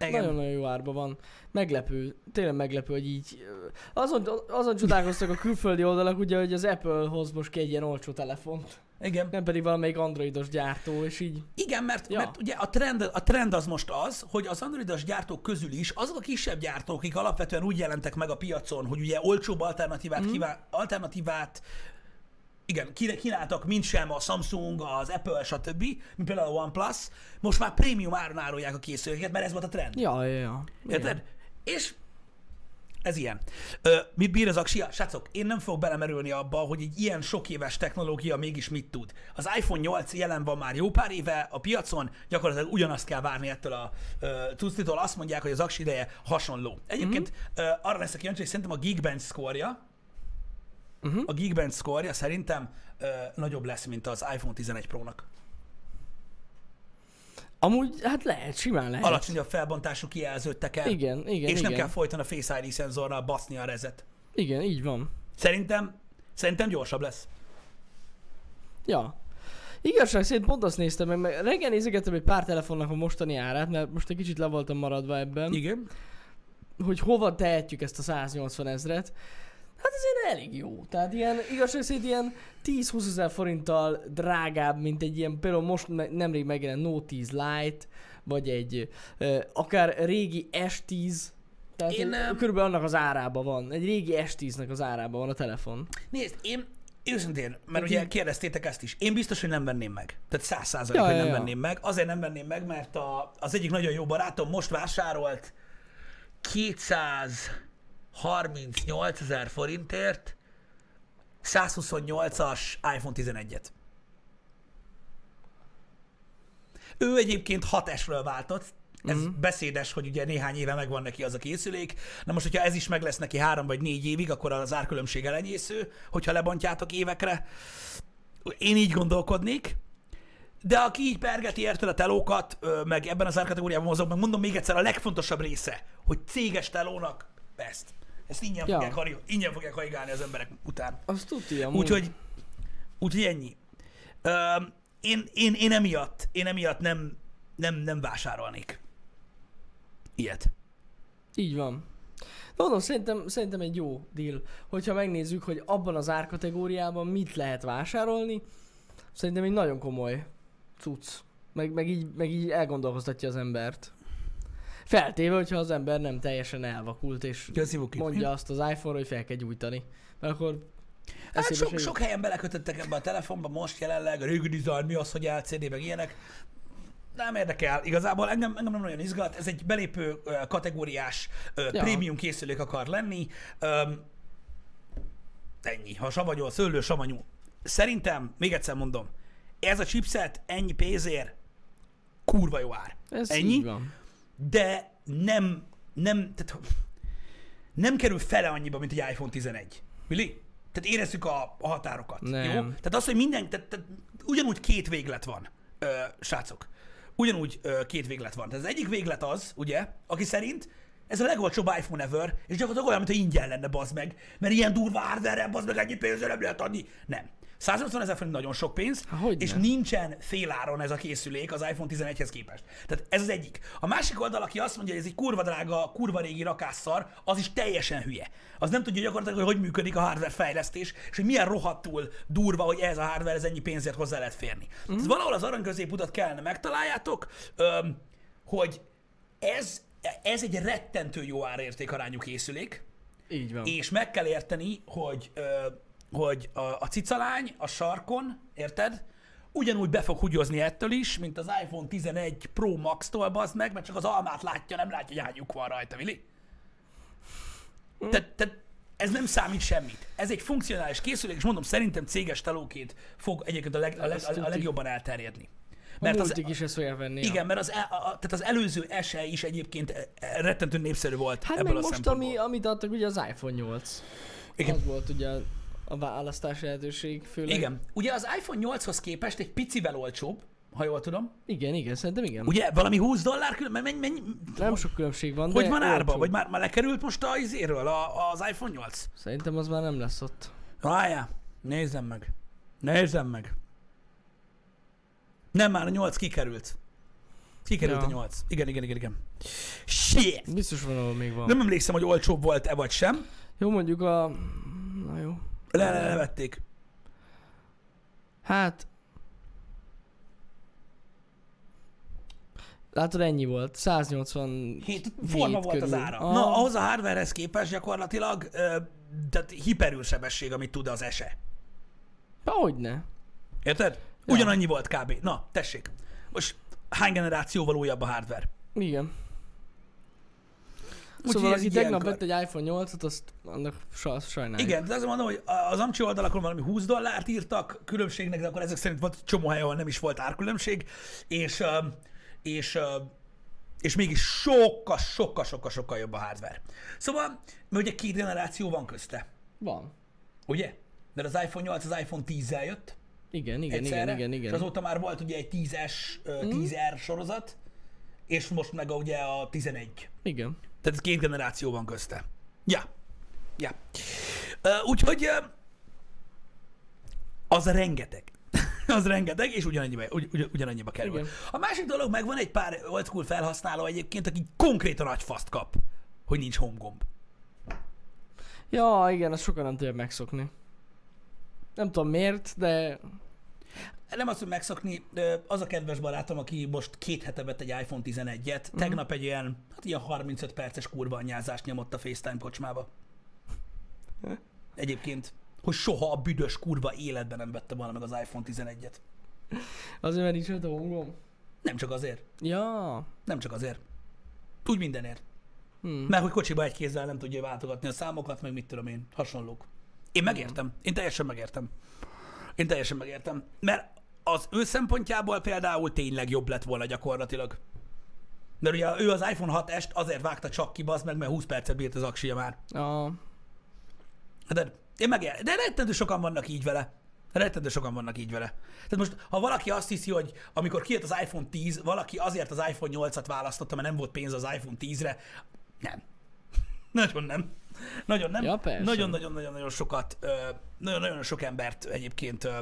Speaker 1: Igen.
Speaker 2: Nagyon-nagyon jó árba van. Meglepő, tényleg meglepő, hogy így... ö, Azon, azon csodálkoztak a külföldi oldalak, ugye, hogy az Apple hoz most ki egy ilyen olcsó telefont.
Speaker 1: Igen.
Speaker 2: Nem pedig valamelyik androidos gyártó, és így...
Speaker 1: Igen, mert,
Speaker 2: Ja.
Speaker 1: ja. mert ugye a trend, a trend az most az, hogy az androidos gyártók közül is azok a kisebb gyártók, akik alapvetően úgy jelentek meg a piacon, hogy ugye olcsóbb alternatívát, mm. kíván, alternatívát igen, kín- kínáltak, mint sem a Samsung, az Apple, stb., mint például a OnePlus, most már prémium áron árulják a készüléket, mert ez volt a trend.
Speaker 2: Ja, ja, ja. Igen.
Speaker 1: Érted? És ez ilyen. Ö, mit bír az aksia? Srácok, én nem fogok belemerülni abba, hogy egy ilyen sok éves technológia mégis mit tud. Az iPhone 8 jelen van már jó pár éve a piacon, gyakorlatilag ugyanazt kell várni ettől a ö, cucitól. Azt mondják, hogy az aksi ideje hasonló. Egyébként
Speaker 2: Mhm.
Speaker 1: mm-hmm. ö, arra leszek kíváncsi, hogy szerintem a Geekbench szkorja,
Speaker 2: Mhm.
Speaker 1: uh-huh. a Geekbench szkorja szerintem ö, nagyobb lesz, mint az iPhone 11 Pro-nak.
Speaker 2: Amúgy, hát lehet, simán lehet.
Speaker 1: Alacsonyabb felbontású kijelzőt teker,
Speaker 2: Igen, igen,
Speaker 1: és
Speaker 2: igen.
Speaker 1: nem kell folyton a Face ID szenzorral baszni a rezet.
Speaker 2: Igen, így van.
Speaker 1: Szerintem, szerintem gyorsabb lesz.
Speaker 2: Ja. Igazság szerint pont azt néztem meg, meg reggel nézegettem egy pár telefonnak a mostani árát, mert most egy kicsit le voltam maradva ebben,
Speaker 1: Igen.
Speaker 2: hogy hova tehetjük ezt a 180 ezret. Hát azért elég jó. Tehát ilyen, igazság szerint ilyen 10-20 ezer forinttal drágább, mint egy ilyen, például most ne- nemrég megjelent No 10 Lite, vagy egy ö, akár régi S10, tehát
Speaker 1: Én,
Speaker 2: Én,
Speaker 1: ö,
Speaker 2: körülbelül annak az árában van. Egy régi S10-nek az árában van a telefon.
Speaker 1: Nézd, én őszintén, mert
Speaker 2: Hát
Speaker 1: ugye
Speaker 2: így-
Speaker 1: kérdeztétek ezt is, én biztos, hogy nem venném meg. Tehát száz százalék,
Speaker 2: Ja,
Speaker 1: hogy
Speaker 2: ja,
Speaker 1: nem
Speaker 2: ja.
Speaker 1: venném meg. Azért nem venném meg, mert a, az egyik nagyon jó barátom most vásárolt 238 ezer forintért 128-as iPhone 11-et. Ő egyébként 6S-ről váltott, ez mm-hmm. beszédes, hogy ugye néhány éve megvan neki az a készülék. Na most, hogyha ez is meg lesz neki három vagy négy évig, akkor az árkülönbség elenyésző, hogyha lebontjátok évekre. Én így gondolkodnék. De aki így pergeti érted a telókat, ö, meg ebben az árkategóriában mozog, meg mondom még egyszer, a legfontosabb része, hogy céges telónak best. Ezt ingyen, ja.
Speaker 2: Ja.
Speaker 1: fogják, harig- ingyen fogják haigálni az emberek után.
Speaker 2: Azt tudja, amúgy.
Speaker 1: Úgyhogy, úgyhogy ennyi. Öm, én, én, én, emiatt, én emiatt nem, nem, nem vásárolnék ilyet.
Speaker 2: Így van. De Mondom, szerintem, szerintem egy jó deal, hogyha megnézzük, hogy abban az árkategóriában mit lehet vásárolni, szerintem egy nagyon komoly cucc. Meg, meg, így, meg így elgondolkoztatja az embert. Feltéve, hogyha az ember nem teljesen elvakult, és
Speaker 1: Köszönjük.
Speaker 2: mondja azt az iPhone-ra, hogy fel kell gyújtani. Mert akkor
Speaker 1: Hát
Speaker 2: eszébe
Speaker 1: sok,
Speaker 2: se jut.
Speaker 1: sok helyen belekötöttek ebbe a telefonba, most jelenleg, a régi design, mi az, hogy LCD, meg ilyenek. Nem érdekel, igazából engem, engem nem nagyon izgat, ez egy belépő ö, kategóriás ö,
Speaker 2: Ja.
Speaker 1: prémium készülék akar lenni. Öm, ennyi, ha savanyú, szőlő, savanyú. Szerintem, még egyszer mondom, ez a chipset ennyi pénzért kurva jó ár.
Speaker 2: ez
Speaker 1: ennyi?
Speaker 2: így van.
Speaker 1: de nem, nem, tehát nem kerül fele annyiba, mint egy iPhone 11. Mili? Tehát érezzük a, a határokat.
Speaker 2: Nem.
Speaker 1: Jó? Tehát az, hogy minden, tehát, tehát ugyanúgy két véglet van, ö, srácok. Ugyanúgy ö, két véglet van. Tehát az egyik véglet az, ugye, aki szerint ez a legolcsóbb iPhone ever, és gyakorlatilag olyan, mintha ingyen lenne, bazd meg, mert ilyen durva hardware bazd meg ennyi pénzre nem lehet adni. Nem. 180 ezer forint nagyon sok pénz,
Speaker 2: Há, hogy
Speaker 1: és
Speaker 2: ne.
Speaker 1: nincsen féláron ez a készülék az iPhone 11-hez képest. Tehát ez az egyik. A másik oldal, aki azt mondja, hogy ez egy kurva drága, kurva régi rakásszar, az is teljesen hülye. Az nem tudja gyakorlatilag, hogy hogy működik a hardware fejlesztés, és hogy milyen rohadtul durva, hogy ez a hardware, ez ennyi pénzért hozzá lehet férni. Mm. Tehát valahol az arany középutat kellene megtaláljátok, öm, hogy ez, ez egy rettentő jó árértékarányú készülék,
Speaker 2: Így van.
Speaker 1: és meg kell érteni, hogy, ö, hogy a, a cicalány a sarkon, érted? Ugyanúgy be fog hugyozni ettől is, mint az iPhone 11 Pro Max-tól bazd meg, mert csak az almát látja, nem látja, hogy hány lyuk van rajta, Vili.
Speaker 2: Hm.
Speaker 1: Tehát te, ez nem számít semmit. Ez egy funkcionális készülék, és mondom, szerintem céges telóként fog egyébként a, leg, a, leg,
Speaker 2: Azt
Speaker 1: a, a
Speaker 2: tuti.
Speaker 1: legjobban elterjedni.
Speaker 2: Mert
Speaker 1: Mert
Speaker 2: a
Speaker 1: az,
Speaker 2: multik is ezt fogják venni. ja.
Speaker 1: igen, mert az, el- a, a, tehát az előző SE is egyébként e, e, rettentő népszerű volt
Speaker 2: Hát
Speaker 1: ebből
Speaker 2: meg
Speaker 1: a
Speaker 2: most,
Speaker 1: szempontból.
Speaker 2: ami, amit adtak, ugye az iPhone 8.
Speaker 1: Igen.
Speaker 2: Az volt ugye a- a választás lehetőség, főleg.
Speaker 1: Igen. Ugye az iPhone 8-hoz képest egy picivel olcsóbb, ha jól tudom.
Speaker 2: Igen, igen, szerintem igen. Ugye,
Speaker 1: Ugye valami 20 dollár külön, mennyi, mennyi,
Speaker 2: nem sok különbség van,
Speaker 1: hogy
Speaker 2: de
Speaker 1: van árba?
Speaker 2: olcsó.
Speaker 1: Vagy már, már lekerült most a izéről, a, az iPhone 8?
Speaker 2: Szerintem az már nem lesz ott.
Speaker 1: Várjál, nézzem meg. Nézzem meg. Nem, már a 8 kikerült. Kikerült
Speaker 2: Ja.
Speaker 1: ja. a 8. Igen, igen, igen, igen. Shit!
Speaker 2: Biztos van, ahol még van.
Speaker 1: Nem emlékszem, hogy olcsóbb volt-e vagy sem.
Speaker 2: Jó, mondjuk a... Na jó.
Speaker 1: Le, le, levették.
Speaker 2: Hát... Látod, ennyi volt. 180...
Speaker 1: Hét, forma
Speaker 2: Hét
Speaker 1: volt körül. Ah. az
Speaker 2: körül. Ah,
Speaker 1: ára.
Speaker 2: Aha.
Speaker 1: Na, ahhoz a hardwarehez képest gyakorlatilag, ö, tehát hiperül sebesség, amit tud az E. ese.
Speaker 2: Hogyne.
Speaker 1: Érted? Ugyanannyi volt kb. Na, tessék. Most hány generációval újabb a hardware?
Speaker 2: Igen.
Speaker 1: Úgyhogy
Speaker 2: szóval
Speaker 1: ez
Speaker 2: aki
Speaker 1: így
Speaker 2: tegnap
Speaker 1: ilyenkor.
Speaker 2: vett egy iPhone 8-at, azt annak sa- sajnáljuk.
Speaker 1: Igen, de azt mondom, hogy az Amcsi oldalakon valami 20 dollárt írtak különbségnek, de akkor ezek szerint volt egy csomó hely, ahol nem is volt árkülönbség, és, ö, és, ö, és mégis sokkal, sokkal, sokkal, sokkal jobb a hardware. Szóval, mert ugye két generáció van közte,
Speaker 2: Van.
Speaker 1: ugye? Mert az iPhone 8 az iPhone 10-el jött,
Speaker 2: Igen, igen, igen,
Speaker 1: egyszerre,
Speaker 2: igen, Hmm. igen.
Speaker 1: és azóta már volt ugye egy 10-es, ö, 10R sorozat, és most meg a, ugye a 11.
Speaker 2: Igen.
Speaker 1: Tehát két generáció van közte. Ja. Ja. Ö, Úgyhogy ö, az rengeteg. az rengeteg, és ugyanannyiba, ugy, ugy, ugyanannyiba kerül.
Speaker 2: Igen.
Speaker 1: Igen. A másik dolog, meg van egy pár old school felhasználó egyébként, aki konkrétan nagy faszt kap, hogy nincs home gomb.
Speaker 2: Ja, igen, azt sokan nem tudják megszokni. Nem tudom miért, de
Speaker 1: Nem azt, hogy megszokni, ö, az a kedves barátom, aki most két hete vett egy iPhone 11-et, tegnap egy ilyen, hát ilyen 35 perces kurva anyázást nyomott a FaceTime kocsmába. Egyébként, hogy soha a büdös kurva életben nem vette volna meg az iPhone 11-et.
Speaker 2: azért mert nincs rajta hangom.
Speaker 1: Nem csak azért.
Speaker 2: Ja,
Speaker 1: Nem csak azért. Úgy mindenért.
Speaker 2: Hmm.
Speaker 1: Hmm. Mert hogy kocsiba egy kézzel nem tudja váltogatni a számokat, meg mit tudom én, hasonlók. Én megértem. Én teljesen megértem. Én teljesen megértem. Mert az ő szempontjából például tényleg jobb lett volna gyakorlatilag. Mert ugye ő az iPhone 6S-t azért vágta csak ki, bazd meg, mert 20 percet bírt az aksia már.
Speaker 2: a...
Speaker 1: Hát De én megértem. De rettentő sokan vannak így vele. Rettentő sokan vannak így vele. Tehát most, ha valaki azt hiszi, hogy amikor kijött az iPhone 10, valaki azért az iPhone 8-at választotta, mert nem volt pénz az iPhone 10-re, nem. Nagyon nem. Nagyon nem.
Speaker 2: Ja, persze.
Speaker 1: Nagyon-nagyon-nagyon-nagyon sokat, ö, nagyon-nagyon sok embert egyébként ö,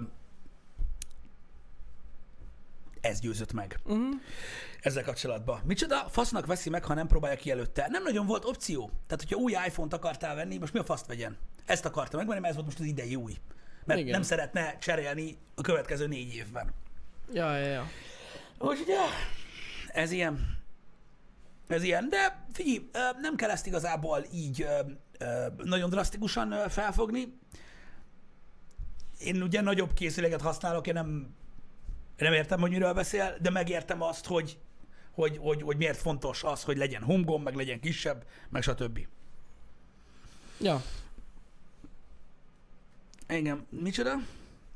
Speaker 1: ez győzött meg
Speaker 2: Uh-huh.
Speaker 1: ezzel kapcsolatban. Micsoda fasznak veszi meg, ha nem próbálja ki előtte? Nem nagyon volt opció. Tehát, hogyha új iPhone-t akartál venni, most mi a faszt vegyen? Ezt akarta megvenni, mert ez volt most az idei új. Mert Igen.
Speaker 2: Igen.
Speaker 1: nem szeretne cserélni a következő négy évben.
Speaker 2: Ja, ja, ja.
Speaker 1: Úgyhogy ja, ez ilyen. Ez ilyen, de figyelj, ö, nem kell ezt igazából így ö, ö, nagyon drasztikusan ö, felfogni. Én ugye nagyobb készüléket használok, én nem, én nem értem, hogy miről beszél, de megértem azt, hogy, hogy, hogy, hogy miért fontos az, hogy legyen hungom, meg legyen kisebb, meg stb.
Speaker 2: Ja.
Speaker 1: Igen, micsoda?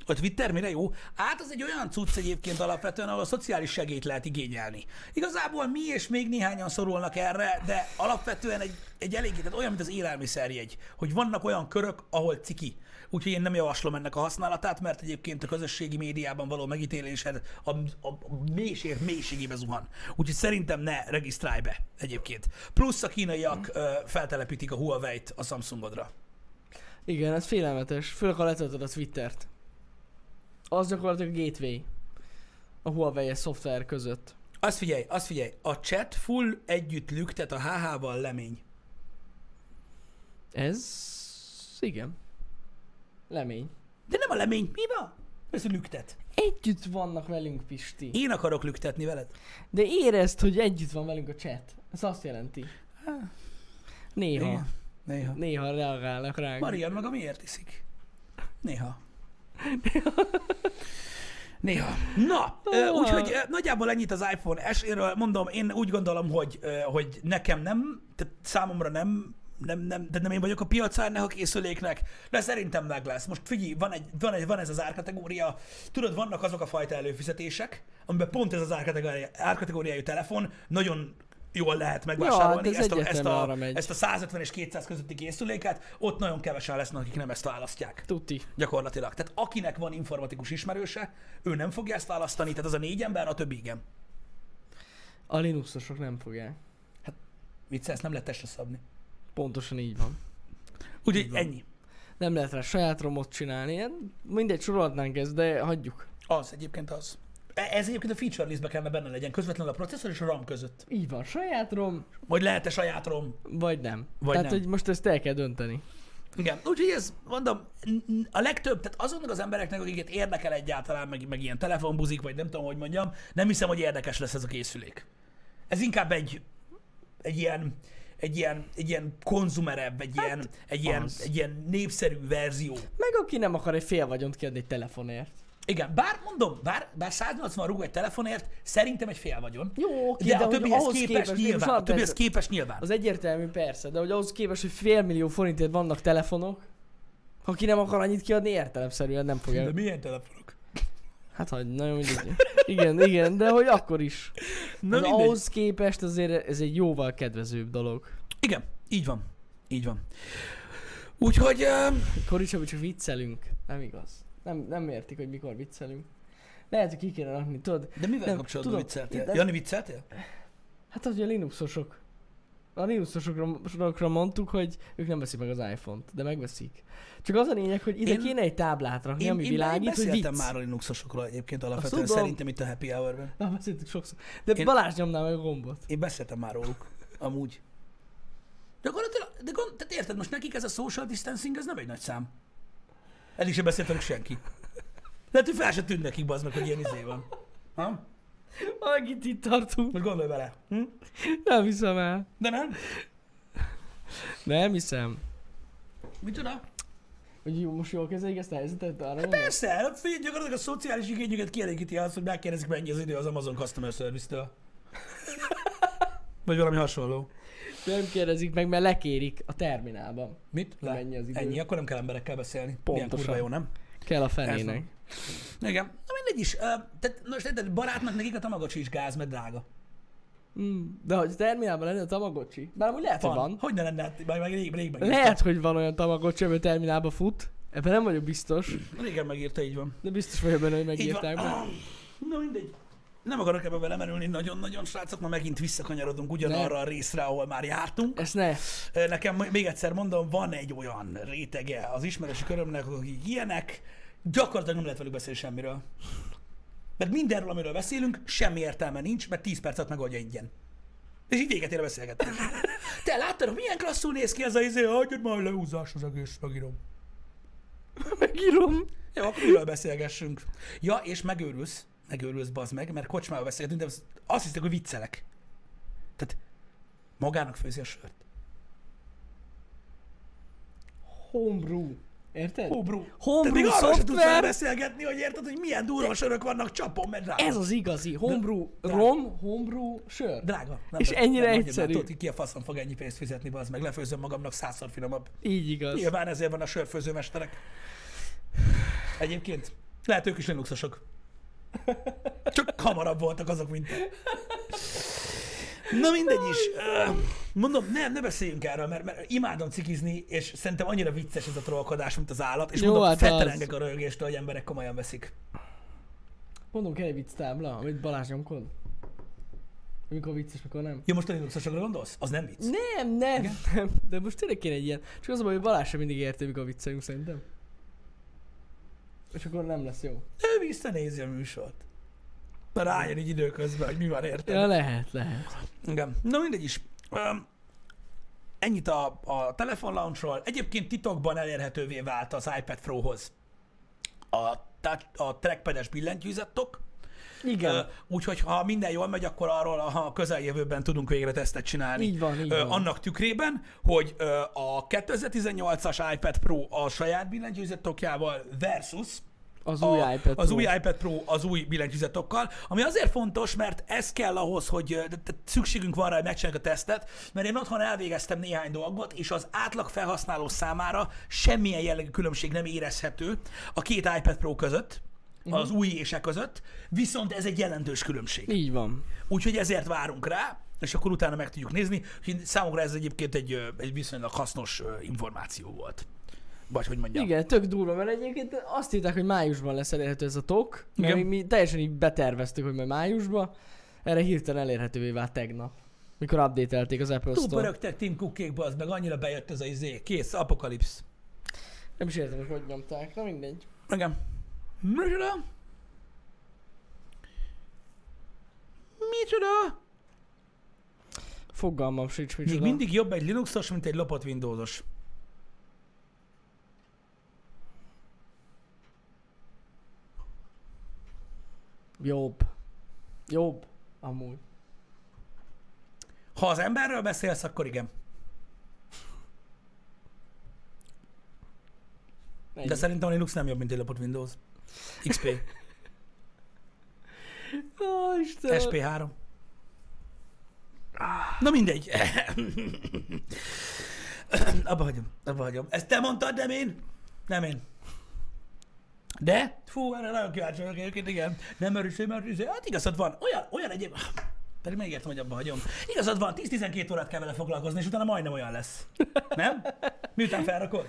Speaker 1: A Twitter mire jó? Hát az egy olyan cucc egyébként alapvetően, ahol a szociális segélyt lehet igényelni. Igazából mi és még néhányan szorulnak erre, de alapvetően egy, egy eléggé, tehát olyan, mint az élelmiszerjegy, hogy vannak olyan körök, ahol ciki. Úgyhogy én nem javaslom ennek a használatát, mert egyébként a közösségi médiában való megítélésed a, a, a mélység, mélységébe zuhan. Úgyhogy szerintem ne regisztrálj be egyébként. Plusz a kínaiak ö, feltelepítik a Huawei-t a Samsungodra.
Speaker 2: Igen, ez félelmetes. Főleg, ha letöltöd a Twittert. Az gyakorlatilag a gateway. A Huawei szoftver között.
Speaker 1: Azt figyelj, azt figyelj, a chat full együtt lüktet a HH-val lemény.
Speaker 2: Ez... Igen. Lemény.
Speaker 1: De nem a lemény, mi van? Ez a lüktet.
Speaker 2: Együtt vannak velünk, Pisti.
Speaker 1: Én akarok lüktetni veled.
Speaker 2: De érezd, hogy együtt van velünk a chat. Ez azt jelenti. Néha.
Speaker 1: Igen, Néha.
Speaker 2: Néha reagálnak ránk.
Speaker 1: Marian maga miért iszik? Néha. Néha. Na, ö, úgyhogy ö, nagyjából ennyit az iPhone SE-ről. Mondom, én úgy gondolom, hogy, ö, hogy nekem nem, tehát számomra nem, nem, nem, de nem én vagyok a piacán ennek a készüléknek, de szerintem meg lesz. Most figyelj, van, egy, van, egy, van ez az árkategória, tudod, vannak azok a fajta előfizetések, amiben pont ez az árkategória, árkategóriájú telefon nagyon jól lehet megvásárolni
Speaker 2: hát ez
Speaker 1: ezt, a, ezt,
Speaker 2: egyértelműen
Speaker 1: a,
Speaker 2: arra megy.
Speaker 1: ezt a 150 és 200 közötti készüléket, ott nagyon kevesen lesznek, akik nem ezt választják
Speaker 2: Tuti.
Speaker 1: gyakorlatilag. Tehát akinek van informatikus ismerőse, ő nem fogja ezt választani, tehát az a négy ember, a többi igen.
Speaker 2: A Linuxosok nem fogják.
Speaker 1: Vicce, ezt nem lehet testre szabni.
Speaker 2: Pontosan így van.
Speaker 1: Úgyhogy ennyi.
Speaker 2: Nem lehet rá saját romot csinálni. Ilyen- Mindegy, sorolhatnánk ezt, de hagyjuk.
Speaker 1: Az egyébként az. E- Ez egyébként a feature listbe kellene benne legyen, közvetlenül a processzor és a RAM között.
Speaker 2: Így van, saját rom,
Speaker 1: Vagy lehet-e saját ROM?
Speaker 2: vagy nem.
Speaker 1: Vagy
Speaker 2: Tehát,
Speaker 1: nem.
Speaker 2: hogy most ezt el kell dönteni.
Speaker 1: Igen. Úgyhogy ez, mondom, n- n- a legtöbb, tehát azoknak az embereknek, akiket érdekel egyáltalán, meg, meg ilyen telefonbuzik, vagy nem tudom, hogy mondjam, nem hiszem, hogy érdekes lesz ez a készülék. Ez inkább egy, egy ilyen, egy ilyen, egy ilyen konzumerebb, egy, hát ilyen, egy, ilyen,
Speaker 2: az.
Speaker 1: egy ilyen népszerű verzió.
Speaker 2: Meg aki nem akar egy fél vagyont kiadni egy telefonért.
Speaker 1: Igen, bár mondom, bár, bár 180 rúg egy telefonért, szerintem egy fél vagyon.
Speaker 2: Jó, oké,
Speaker 1: de,
Speaker 2: de
Speaker 1: a
Speaker 2: hogy
Speaker 1: többihez
Speaker 2: ahhoz
Speaker 1: képest,
Speaker 2: képest még
Speaker 1: nyilván.
Speaker 2: most
Speaker 1: A többihez
Speaker 2: alapvető-
Speaker 1: képest nyilván.
Speaker 2: Az egyértelmű persze, de hogy ahhoz képest, hogy fél millió forintért vannak telefonok, ha ki nem akar annyit kiadni, értelemszerűen nem fogja.
Speaker 1: De milyen telefonok?
Speaker 2: Hát hagyj, nagyon mindegy. Igen, igen, de hogy akkor is.
Speaker 1: Na
Speaker 2: Na, az
Speaker 1: mindegy.
Speaker 2: ahhoz képest azért ez egy jóval kedvezőbb dolog.
Speaker 1: Igen, így van. Így van. Úgyhogy... Uh,
Speaker 2: Koricsabi csak viccelünk. Nem igaz. Nem, nem értik, hogy mikor viccelünk. Lehet, hogy ki kéne rakni, tudod?
Speaker 1: De mivel
Speaker 2: Nem,
Speaker 1: kapcsolatban
Speaker 2: tudom,
Speaker 1: vicceltél?
Speaker 2: itt ez-
Speaker 1: Jani vicceltél?
Speaker 2: Hát az, hogy a Linuxosok. A Linuxosokra sokra mondtuk, hogy ők nem veszik meg az iPhone-t, de megveszik. Csak az a lényeg, hogy ide
Speaker 1: Én-
Speaker 2: én, kéne egy táblát rakni, ami világít, hogy vicc.
Speaker 1: beszéltem már a Linuxosokról egyébként alapvetően,
Speaker 2: tudom.
Speaker 1: szerintem itt a Happy Hour-ben.
Speaker 2: Na, beszéltük sokszor. De
Speaker 1: Én-
Speaker 2: én... Balázs nyomná meg a gombot.
Speaker 1: Én beszéltem már róluk, amúgy. De gyakorlatilag, de gond, tehát érted, most nekik ez a social distancing, ez nem egy nagy szám. Eddig sem beszélt velük senki. Lehet, hogy fel se tűnt nekik, bazd meg, hogy ilyen izé van. Ha?
Speaker 2: Megint itt tartunk.
Speaker 1: Most gondolj bele. Hm?
Speaker 2: Nem hiszem el.
Speaker 1: De nem?
Speaker 2: Nem hiszem.
Speaker 1: Mit tudom?
Speaker 2: Hogy jó, most jól kezeljük ezt a helyzetet, arra hát
Speaker 1: Persze, hát figyelj, gyakorlatilag a szociális igényüket kielégíti az, hogy megkérdezik, mennyi az idő az Amazon Customer Service-től. Vagy valami hasonló.
Speaker 2: Nem kérdezik meg, mert lekérik a terminálban.
Speaker 1: Mit? Le.
Speaker 2: Mennyi az idő?
Speaker 1: Ennyi, akkor nem kell emberekkel beszélni. Milyen
Speaker 2: Pontosan.
Speaker 1: kurva jó, nem?
Speaker 2: Kell a
Speaker 1: Ez
Speaker 2: fenének.
Speaker 1: van. Igen. Na mindegy is. Uh, tehát, na most érted, barátnak nekik a tamagocsi is gáz, mert drága.
Speaker 2: Mm, de hogy terminálban lenne a Tamagocsi? Bár amúgy lehet, hogy van.
Speaker 1: Hogy ne lenne, hát már meg rég, rég megírta.
Speaker 2: Lehet, hogy van olyan Tamagocsi, ami a terminálba fut. Ebben nem vagyok biztos,
Speaker 1: Régen megírta, így van.
Speaker 2: de biztos vagyok benne, hogy
Speaker 1: Így van.
Speaker 2: megírták. be.
Speaker 1: Na mindegy. Nem akarok ebbe belemerülni nagyon-nagyon, srácok, ma megint visszakanyarodunk ugyanarra a részre, ahol már jártunk.
Speaker 2: Ezt ne.
Speaker 1: Ö, Nekem m- még egyszer mondom, van egy olyan rétege az ismerősi körömnek, akik ilyenek, gyakorlatilag nem lehet velük beszélni semmiről. Mert mindenről, amiről beszélünk, semmi értelme nincs, mert 10 percet megoldja ingyen. És így véget ér a beszélgetés. Te láttad, hogy milyen klasszul néz ki ez a izé, hagyjad már leúzás az egész, megírom.
Speaker 2: Megírom.
Speaker 1: Jó, akkor miről beszélgessünk? Ja, és megőrülsz, megőrülsz, bazd meg, mert kocsmába beszélgetünk, de azt- azt hiszek, hogy viccelek. Tehát magának főzi a sört.
Speaker 2: Homebrew. Érted?
Speaker 1: Homebrew. Tehát még
Speaker 2: Homebrew
Speaker 1: arról sem tudsz vele
Speaker 2: szoftver. E-
Speaker 1: beszélgetni, hogy érted, hogy milyen durva sörök vannak csapon, mert drága.
Speaker 2: Ez az igazi. Homebrew
Speaker 1: de-
Speaker 2: rom, homebrew sör.
Speaker 1: Drága. Nem
Speaker 2: És
Speaker 1: tudom,
Speaker 2: ennyire
Speaker 1: nem mondjam,
Speaker 2: egyszerű.
Speaker 1: már Tudod, hogy ki a faszom fog ennyi pénzt fizetni, az meg lefőzöm magamnak százszor finomabb.
Speaker 2: Így igaz.
Speaker 1: Nyilván ezért van a sörfőzőmesterek. Egyébként lehet ők is linuxosok. Csak hamarabb voltak azok, mint te. Na mindegy is. Ö, Mondom, nem, ne beszéljünk erről, mert, mert imádom cikizni, és szerintem annyira vicces ez a trollkodás, mint az állat, és
Speaker 2: Jó,
Speaker 1: mondom,
Speaker 2: hát az.
Speaker 1: fetterengek a röhögéstől, hogy emberek komolyan veszik.
Speaker 2: Mondom, kell egy vicc tábla, amit Balázs nyomkod. Mikor vicces, mikor nem.
Speaker 1: Jó, most a linuxosokra gondolsz? Az nem vicc.
Speaker 2: Nem, nem, nem. De most tényleg kéne egy ilyen. Csak az a baj, hogy Balázs sem mindig érti, mikor viccelünk szerintem. És akkor nem lesz jó.
Speaker 1: Ő visszanézi a műsort. Na rájön így időközben, hogy mi van érted.
Speaker 2: Ja, lehet, lehet.
Speaker 1: Igen. Na mindegy is. Um, ennyit a, a telefon launchról. Egyébként titokban elérhetővé vált az iPad Pro-hoz a, touch- a trackpedes billentyűzettok.
Speaker 2: Igen.
Speaker 1: Ö, Úgyhogy ha minden jól megy, akkor arról ha a közeljövőben tudunk végre tesztet csinálni.
Speaker 2: Így van, így
Speaker 1: Ö,
Speaker 2: van.
Speaker 1: Annak tükrében, hogy ö, a 2018-as iPad Pro a saját billentyűzettokjával versus
Speaker 2: az
Speaker 1: a,
Speaker 2: új iPad
Speaker 1: az
Speaker 2: Pro.
Speaker 1: új iPad Pro az új billentyűzetokkal, ami azért fontos, mert ez kell ahhoz, hogy ö, tehát szükségünk van rá, hogy megcsináljuk a tesztet, mert én otthon elvégeztem néhány dolgot, és az átlag felhasználó számára semmilyen jellegű különbség nem érezhető a két iPad Pro között,
Speaker 2: Mhm.
Speaker 1: az új és e között, viszont ez egy jelentős különbség.
Speaker 2: Így van.
Speaker 1: Úgyhogy ezért várunk rá, és akkor utána meg tudjuk nézni. Úgyhogy Számomra ez egyébként egy, ö, egy viszonylag hasznos ö, információ volt. Vagy hogy mondjam.
Speaker 2: Igen, tök durva, mert egyébként azt írták, hogy májusban lesz elérhető ez a tok, mert mi,
Speaker 1: Igen.
Speaker 2: mi teljesen így beterveztük, hogy majd májusban, erre hirtelen elérhetővé vált tegnap, mikor updatelték az Apple
Speaker 1: Túl
Speaker 2: Store.
Speaker 1: pörögtek Tim Cookékba, az meg annyira bejött ez a izé. Kész, apokalipsz.
Speaker 2: Nem is értem, hogy hogy nyomták, na mindegy.
Speaker 1: Igen. Micsoda? Micsoda?
Speaker 2: Fogalmam sincs,
Speaker 1: Még
Speaker 2: micsoda.
Speaker 1: mindig jobb egy Linuxos, mint egy lopott Windowsos.
Speaker 2: Jobb. Jobb. Amúgy.
Speaker 1: Ha az emberről beszélsz, akkor igen.
Speaker 2: Ennyi.
Speaker 1: De szerintem a Linux nem jobb, mint egy lopott Windows. XP,
Speaker 2: Ó, Istenem.
Speaker 1: SP3. Na mindegy. abba hagyom, abba hagyom. Ezt te mondtad, nem én? Nem én. De? Fú, erre nagyon kíváncsi vagyok egyébként, igen. Nem erősé, mert izé- hát igazad van. Olyan, olyan egyéb... Pedig megértem, hogy abba hagyom. Igazad van, 10-12 órát kell vele foglalkozni, és utána majdnem olyan lesz. Nem? Miután felrakod?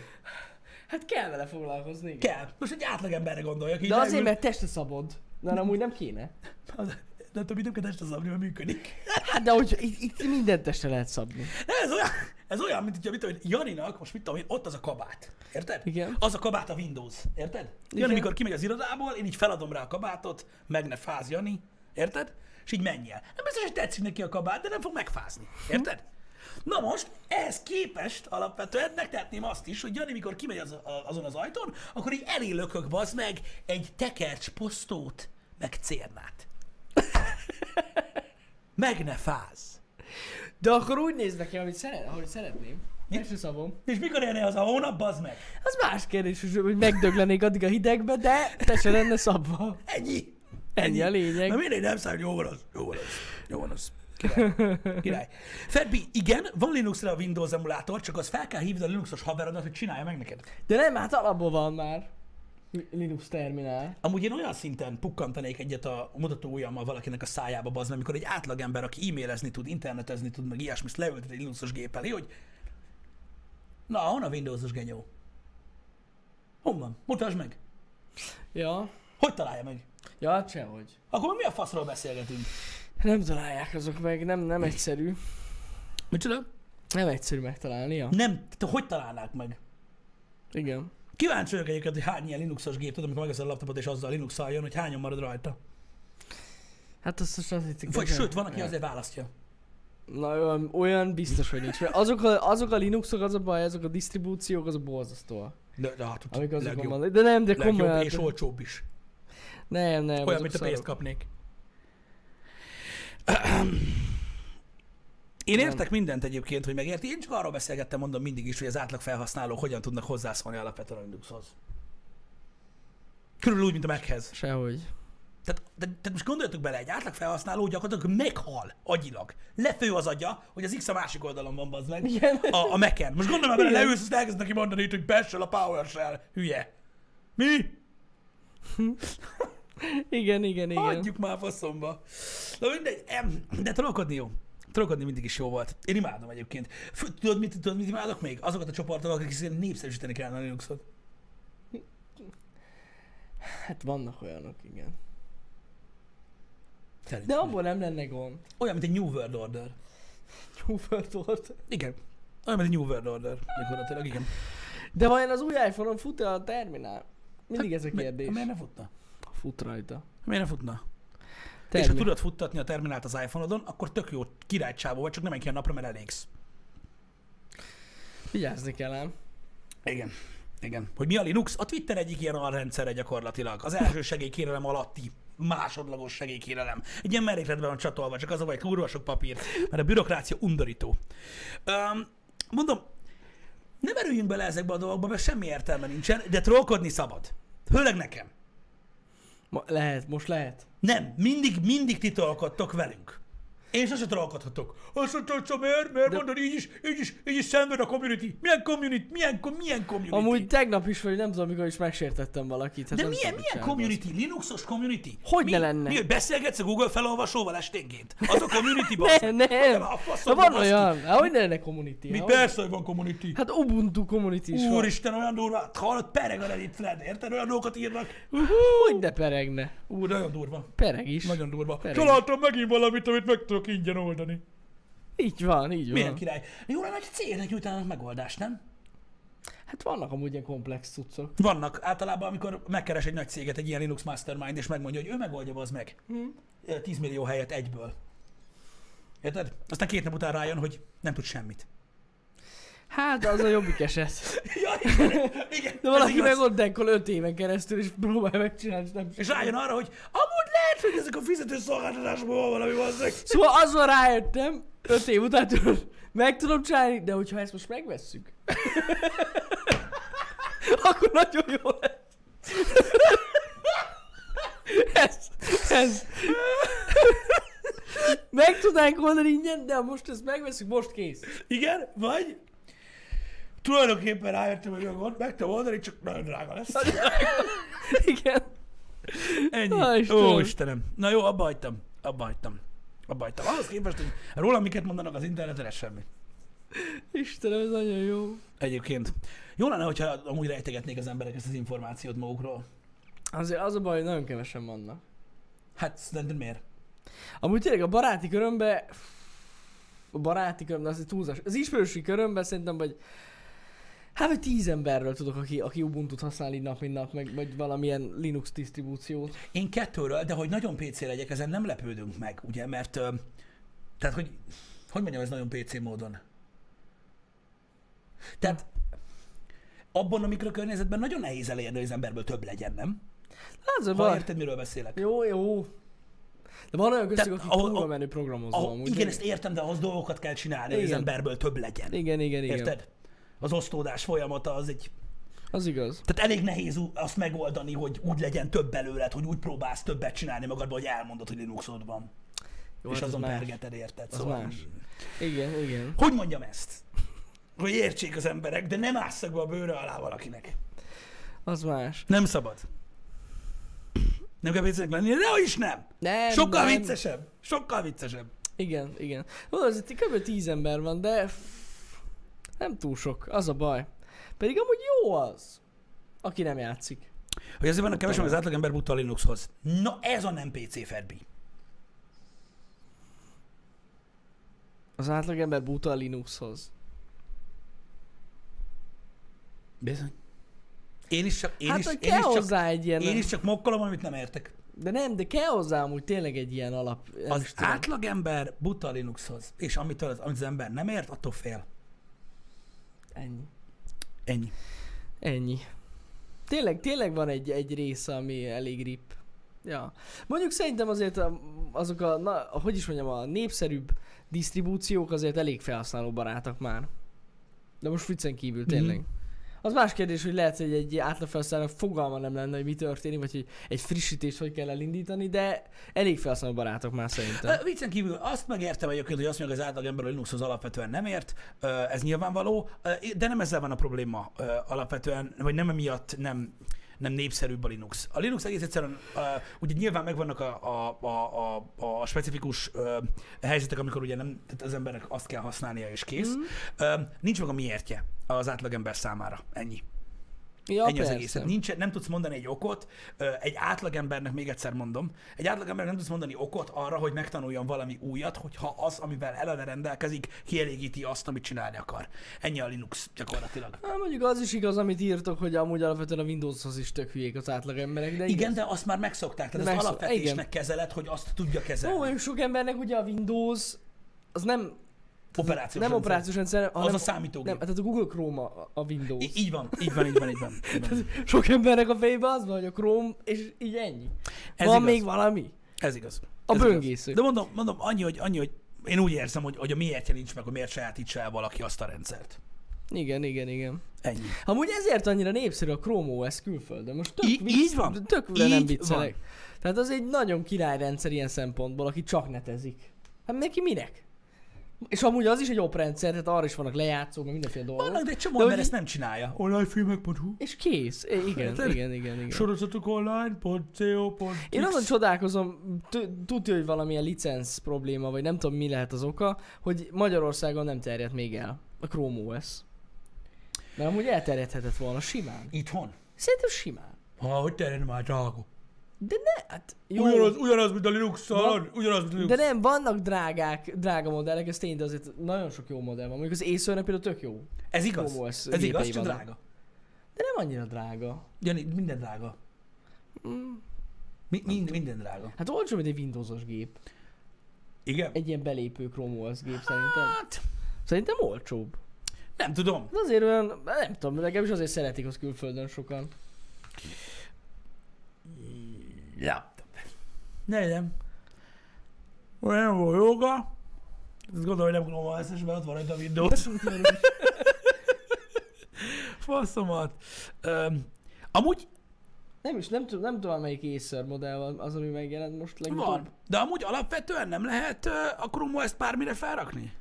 Speaker 2: Hát kell vele foglalkozni. igen.
Speaker 1: Kell. Most egy átlagemberre gondoljak. Így
Speaker 2: De
Speaker 1: leül-
Speaker 2: azért, mert testre szabod. Na, amúgy nem kéne.
Speaker 1: Az- Nem tudom, időnként este szabni, mert működik.
Speaker 2: Hát de hogy itt, itt mindent testre lehet szabni.
Speaker 1: Nem, ez olyan, ez olyan, mint hogyha, mit tudom, én, Janinak, most mit tudom én, ott az a kabát. Érted?
Speaker 2: Igen.
Speaker 1: Az a kabát a Windows. Érted? Jani,
Speaker 2: Igen.
Speaker 1: amikor kimegy az irodából, én így feladom rá a kabátot, meg ne fáz, Jani. Érted? És így menj el. Nem biztos, hogy tetszik neki a kabát, de nem fog megfázni. Érted? Na most, ehhez képest alapvetően megtehetném azt is, hogy Jani, mikor kimegy az, a, azon az ajtón, akkor így elélökök, bazd meg, egy tekercs posztót, meg cérnát. meg ne fáz.
Speaker 2: De akkor úgy néz neki, amit szeret, ahogy szeretném. Testre szabom.
Speaker 1: És mikor érne az a hónap, bazd meg?
Speaker 2: Az más kérdés, hogy- hogy megdöglenék addig a hidegbe, de testre lenne szabva.
Speaker 1: Ennyi.
Speaker 2: Ennyi a lényeg.
Speaker 1: Na mindegy, nem számít, jó van az. Jó van az. Jó van az. Király. Király. Ferbi, igen, van Linuxra a Windows emulátor, csak az fel kell hívni a Linuxos haverodat, hogy csinálja meg neked.
Speaker 2: De nem, hát alapból van már. Li- Linux terminál.
Speaker 1: Amúgy én olyan szinten pukkantanék egyet a mutató ujjammal valakinek a szájába, bazd, meg, amikor egy átlagember, aki e-mailezni tud, internetezni tud, meg ilyesmit leültet egy Linuxos gép elé, hogy na, hon a Windowsos genyó? Hon van? Mutasd meg!
Speaker 2: Ja.
Speaker 1: Hogy találja meg?
Speaker 2: Ja, hát sehogy.
Speaker 1: Akkor mi a faszról beszélgetünk?
Speaker 2: Nem találják azok meg, nem, nem egyszerű.
Speaker 1: Micsoda?
Speaker 2: Nem egyszerű megtalálnia.
Speaker 1: Nem, te hogy találnák meg?
Speaker 2: Igen.
Speaker 1: Kíváncsi vagyok egyébként, hogy hány ilyen Linuxos gép tud, amikor megveszel a laptopot és azzal linux jön, hogy hányan marad rajta.
Speaker 2: Hát azt a statisztikát...
Speaker 1: Vagy
Speaker 2: nem-
Speaker 1: sőt, van, aki
Speaker 2: nem.
Speaker 1: azért választja.
Speaker 2: Na, olyan, olyan biztos, hogy nincs. Mert azok a, azok a Linuxok, az a baj, azok a disztribúciók, az a borzasztó.
Speaker 1: De, de hát,
Speaker 2: Amik azokon
Speaker 1: legjobb,
Speaker 2: van. De nem, de komolyan.
Speaker 1: legjobb és olcsóbb is.
Speaker 2: Nem, nem.
Speaker 1: Olyan,
Speaker 2: azok
Speaker 1: mint a pénzt
Speaker 2: szarok.
Speaker 1: kapnék. Én
Speaker 2: Nem.
Speaker 1: értek mindent egyébként, hogy megérti. Én csak arról beszélgettem, mondom mindig is, hogy az átlag felhasználók hogyan tudnak hozzászólni alapvetően a Linuxhoz. Körülbelül úgy, mint a Machez.
Speaker 2: Sehogy.
Speaker 1: Tehát, de, tehát most gondoljatok bele, egy átlag felhasználó gyakorlatilag meghal agyilag. Lefő az agya, hogy az X a másik oldalon van, bazd meg.
Speaker 2: Igen.
Speaker 1: A, a Mac-en. Most gondolom, bele
Speaker 2: Igen.
Speaker 1: leülsz, azt elkezd neki mondani itt, hogy Bessel a PowerShell. Hülye. Mi?
Speaker 2: Igen, igen, igen.
Speaker 1: Adjuk már faszomba. Na mindegy, em, de trollkodni jó. Trollkodni mindig is jó volt. Én imádom egyébként. Fő, tudod, mit, tudod, mit imádok még? Azokat a csoportokat, akik szerint népszerűsíteni kellene a Linuxot.
Speaker 2: Hát vannak olyanok, igen. De
Speaker 1: Szerintem.
Speaker 2: abból nem lenne gond.
Speaker 1: Olyan, mint egy New World Order.
Speaker 2: Nyúlfertolt.
Speaker 1: Igen. Olyan, mint egy New World Order. Gyakorlatilag, igen.
Speaker 2: De vajon az új iPhone-on fut-e a terminál? Mindig ez a
Speaker 1: Hát Mi-
Speaker 2: kérdés.
Speaker 1: Miért ne futna?
Speaker 2: Fut rajta.
Speaker 1: Miért ne futna? És ha
Speaker 2: Termi-
Speaker 1: tudod futtatni a terminált az iPhone-odon, akkor tök jó királycsávó vagy, csak nem egy ilyen napra, mert elégsz.
Speaker 2: Vigyázni kell ám.
Speaker 1: Igen. Igen. Hogy mi a Linux? A Twitter egyik ilyen alrendszere gyakorlatilag. Az első segélykérelem alatti másodlagos segélykérelem. Egy ilyen merrékletben van csatolva, csak az a baj, kurva sok papírt, mert a bürokrácia undorító. Öm, mondom, nem erüljünk bele ezekbe a dolgokba, mert semmi értelme nincsen, de trollkodni szabad. Főleg nekem.
Speaker 2: Ma- lehet, most lehet.
Speaker 1: Nem, mindig, mindig titolkodtok velünk. Én sose trollkodhatok. Azt mondta, hogy csak miért, miért
Speaker 2: De-
Speaker 1: mondod, így is, így is, így is szenved a community. Milyen community, milyen, ko- milyen community?
Speaker 2: Amúgy tegnap is, vagy nem tudom, mikor is megsértettem valakit. Hát
Speaker 1: De
Speaker 2: nem
Speaker 1: milyen,
Speaker 2: tudom, mit
Speaker 1: milyen
Speaker 2: csináltam.
Speaker 1: community? Linuxos community?
Speaker 2: Hogy
Speaker 1: mi,
Speaker 2: ne lenne?
Speaker 1: Mi, hogy beszélgetsz a Google felolvasóval esténként? Az a community
Speaker 2: Ne,
Speaker 1: basz.
Speaker 2: nem.
Speaker 1: a
Speaker 2: Na
Speaker 1: faszomba,
Speaker 2: van
Speaker 1: baszki.
Speaker 2: olyan. Hát hogy ne lenne community?
Speaker 1: Mi
Speaker 2: hát, hogy-
Speaker 1: persze, hogy van community.
Speaker 2: Hát Ubuntu community is van.
Speaker 1: Úristen, olyan durva, Hát, hallod, pereg a Reddit thread, érted? Olyan dolgokat írnak.
Speaker 2: Hogy ne peregne?
Speaker 1: Úr, nagyon durva.
Speaker 2: Pereg is.
Speaker 1: Nagyon durva.
Speaker 2: Pereg.
Speaker 1: Találtam megint valamit, amit meg tudok ingyen oldani.
Speaker 2: Így van, így van.
Speaker 1: Milyen király. Jó lenne, hogy cégnek nyújtanak megoldást, nem?
Speaker 2: Hát vannak amúgy ilyen komplex cuccok.
Speaker 1: Vannak. Általában, amikor megkeres egy nagy céget egy ilyen Linux Mastermind, és megmondja, hogy ő megoldja az meg.
Speaker 2: Hm.
Speaker 1: Ö, 10 millió helyet egyből. Érted? Aztán két nap után rájön, hogy nem tud semmit.
Speaker 2: Hát az a jobbik eset.
Speaker 1: Ja, igen, igen.
Speaker 2: De
Speaker 1: ez
Speaker 2: valaki
Speaker 1: igaz.
Speaker 2: meg ott dekkol öt éven keresztül, és próbál megcsinálni, és nem
Speaker 1: És rájön arra, hogy amúgy lehet, hogy ezek a fizetőszolgáltatásban van valami bazzeg.
Speaker 2: Szóval azon rájöttem, öt év után tudod, meg tudom csinálni, de hogyha ezt most megvesszük, akkor nagyon jó lesz. Ez, ez. Meg tudnánk oldani ingyen, de ha most ezt megveszünk, most kész.
Speaker 1: Igen, vagy tulajdonképpen rájöttem, hogy a gond, meg tudom oldani, csak nagyon drága lesz.
Speaker 2: Igen.
Speaker 1: Ennyi.
Speaker 2: Á, Istenem.
Speaker 1: Ó, Istenem. Na jó, abba hagytam. Abba hagytam. Abba hagytam. Ahhoz képest, hogy rólam miket mondanak az interneten, ez semmi.
Speaker 2: Istenem, ez nagyon jó.
Speaker 1: Egyébként. Jó lenne, hogyha amúgy rejtegetnék az emberek ezt az információt magukról.
Speaker 2: Azért az a baj, hogy nagyon kevesen vannak.
Speaker 1: Hát szerinted miért?
Speaker 2: Amúgy tényleg a baráti körömbe... A baráti körömbe, az egy túlzás. Az ismerősi körömbe szerintem, vagy... Hát, vagy tíz emberről tudok, aki, aki Ubuntu-t használ így nap, mint nap, meg vagy valamilyen Linux disztribúciót.
Speaker 1: Én kettőről, de hogy nagyon PC legyek, ezen nem lepődünk meg, ugye, mert ö, tehát, hogy hogy mondjam, ez nagyon PC módon. Tehát abban a mikrokörnyezetben nagyon nehéz elérni, hogy az emberből több legyen, nem?
Speaker 2: Hát, az a
Speaker 1: Ha
Speaker 2: baj.
Speaker 1: érted, miről beszélek.
Speaker 2: Jó, jó. De van olyan köztük,
Speaker 1: Tehát
Speaker 2: aki
Speaker 1: ahol-
Speaker 2: kurva
Speaker 1: ahol-
Speaker 2: menő programozó
Speaker 1: Ah,
Speaker 2: amúgy.
Speaker 1: igen, ezt értem, de ahhoz dolgokat kell csinálni, hogy az
Speaker 2: Igen.
Speaker 1: emberből több legyen.
Speaker 2: igen, igen, igen.
Speaker 1: Érted? Az osztódás folyamata az egy
Speaker 2: Az igaz.
Speaker 1: Tehát elég nehéz ú- azt megoldani, hogy úgy legyen több belőled, hogy úgy próbálsz többet csinálni magadban, hogy elmondod, hogy Linuxod van. Jó, és
Speaker 2: hát az
Speaker 1: azon
Speaker 2: más.
Speaker 1: pergeted, érted? Szóval-
Speaker 2: Az más. Igen, igen.
Speaker 1: Hogy mondjam ezt? Hogy értsék az emberek, de nem ásszak be a bőre alá valakinek.
Speaker 2: Az más.
Speaker 1: Nem szabad. Nem kell viccesnek lenni, de is nem.
Speaker 2: Nem,
Speaker 1: Sokkal
Speaker 2: nem.
Speaker 1: viccesebb. Sokkal viccesebb.
Speaker 2: Igen, igen. Mondom, ez itt kb. 10 ember van, de nem túl sok, az a baj. Pedig amúgy jó az, aki nem játszik.
Speaker 1: Hogy azért vannak kevesen, az átlagember buta a Linuxhoz. Na ez a nem PC Ferbi.
Speaker 2: Az átlagember buta a Linuxhoz.
Speaker 1: Bizony. Én is csak, én
Speaker 2: hát,
Speaker 1: is,
Speaker 2: hogy
Speaker 1: én
Speaker 2: kell
Speaker 1: is csak,
Speaker 2: hozzá egy ilyen...
Speaker 1: én is csak mokkolom, amit nem értek.
Speaker 2: De nem, de kell hozzá amúgy tényleg egy ilyen alap... Nem
Speaker 1: Az
Speaker 2: is tudom.
Speaker 1: átlagember buta a Linuxhoz, és amitől az, amit az ember nem ért, attól fél.
Speaker 2: Ennyi.
Speaker 1: Ennyi.
Speaker 2: Ennyi. Tényleg, tényleg van egy, egy része, ami elég rip. Ja. Mondjuk szerintem azért a, azok a, na, hogy is mondjam, a népszerűbb disztribúciók azért elég felhasználóbarátak már. De most viccen
Speaker 1: Mhm.
Speaker 2: kívül tényleg. Mm. Az más kérdés, hogy lehet, hogy egy átlagfelhasználó fogalma nem lenne, hogy mi történik, vagy hogy egy frissítést hogy kell elindítani, de elég felhasználóbarátok már szerintem.
Speaker 1: Ö, Viccen kívül azt megértem egyébként, hogy azt mondja, hogy az átlagember a Linuxhoz alapvetően nem ért, ö, ez nyilvánvaló, ö, de nem ezzel van a probléma ö, alapvetően, vagy nem emiatt nem nem népszerűbb a Linux. A Linux egész egyszerűen, uh, ugye nyilván megvannak a, a, a, a, a specifikus uh, helyzetek, amikor ugye nem, tehát az embernek azt kell használnia és kész. Mm. Uh, nincs meg a miértje az átlagember számára. Ennyi.
Speaker 2: Ja,
Speaker 1: Ennyi az egész. Tehát Nincs, nem tudsz mondani egy okot, ö, egy átlagembernek, még egyszer mondom, egy átlagembernek nem tudsz mondani okot arra, hogy megtanuljon valami újat, hogyha az, amivel eleve rendelkezik, kielégíti azt, amit csinálni akar. Ennyi a Linux gyakorlatilag.
Speaker 2: Hát mondjuk az is igaz, amit írtok, hogy amúgy alapvetően a Windowshoz is tök hülyék az átlag emberek, de
Speaker 1: Igen, de azt már megszokták, tehát ezt
Speaker 2: Megszok-
Speaker 1: alapvetésnek
Speaker 2: igen.
Speaker 1: kezeled, hogy azt tudja kezelni.
Speaker 2: Ó, olyan sok embernek ugye a Windows az nem,
Speaker 1: operációs
Speaker 2: nem
Speaker 1: rendszer.
Speaker 2: operációs rendszer, hanem
Speaker 1: a számítógép.
Speaker 2: Nem, tehát a Google Chrome a, a Windows.
Speaker 1: Í- így van, így van, így van, így van. Így van.
Speaker 2: Sok embernek a fejében az van, hogy a Chrome, és így ennyi.
Speaker 1: Ez
Speaker 2: van
Speaker 1: igaz.
Speaker 2: még valami?
Speaker 1: Ez igaz.
Speaker 2: A
Speaker 1: Ez igaz.
Speaker 2: böngésző.
Speaker 1: De mondom, mondom annyi, hogy, annyi, hogy én úgy érzem, hogy, hogy a miértje nincs meg, hogy miért sajátítsa el valaki azt a rendszert.
Speaker 2: Igen, igen, igen.
Speaker 1: Ennyi.
Speaker 2: Amúgy ezért annyira népszerű a Chrome OS külföldön. Most tök,
Speaker 1: Í-
Speaker 2: vicc-
Speaker 1: így van.
Speaker 2: tök vele nem
Speaker 1: Így
Speaker 2: viccelek. Tehát az egy nagyon királyrendszer ilyen szempontból, aki csak netezik. Hát neki minek? És amúgy az is egy oprendszer, tehát arra is vannak lejátszók, meg mindenféle dolgok.
Speaker 1: Vannak, de egy csomó
Speaker 2: De
Speaker 1: ember
Speaker 2: hogy
Speaker 1: ezt nem csinálja. Onlinefilmek.hu
Speaker 2: És kész. I- Igen,
Speaker 1: Hát,
Speaker 2: igen, igen, igen.
Speaker 1: Sorozatok online.co.
Speaker 2: Én azon csodálkozom, t- tudja, hogy valamilyen licenc probléma, vagy nem tudom mi lehet az oka, hogy Magyarországon nem terjedt még el a Chrome OS. Mert amúgy elterjedhetett volna simán.
Speaker 1: Itthon.
Speaker 2: Szerintem simán.
Speaker 1: Ha, hogy terjed már drága.
Speaker 2: De ne, hát jó.
Speaker 1: Ugyanaz, ugyanaz, mint a linux
Speaker 2: Van-
Speaker 1: ugyanaz, mint a
Speaker 2: De
Speaker 1: linux
Speaker 2: nem, vannak drágák, drága modellek, ez tény, de azért nagyon sok jó modell van. Mondjuk az acer például tök jó.
Speaker 1: Ez igaz.
Speaker 2: Chrome OS
Speaker 1: Ez igaz,
Speaker 2: gépei
Speaker 1: csak
Speaker 2: vannak.
Speaker 1: drága.
Speaker 2: De nem annyira drága.
Speaker 1: Jani, minden drága.
Speaker 2: Mm.
Speaker 1: Mi, mind, minden drága.
Speaker 2: Hát olcsó, mint egy Windowsos gép.
Speaker 1: Igen?
Speaker 2: Egy ilyen belépő Chrome OS gép szerintem.
Speaker 1: Hát,
Speaker 2: Szerintem olcsóbb.
Speaker 1: nem tudom.
Speaker 2: De azért olyan, nem tudom, legalábbis azért szeretik az külföldön sokan.
Speaker 1: Laptop. Ne, nem. Olyan volt joga. Azt gondolom, hogy nem Chrome OS, és mert ott van rajta a Windows. Faszomat. Öm, amúgy
Speaker 2: Nem is, nem tudom, nem tudom melyik Acer modell van az, ami megjelent most legutóbb.
Speaker 1: Van. De amúgy alapvetően nem lehet ö, a Chrome OS-t bármire felrakni?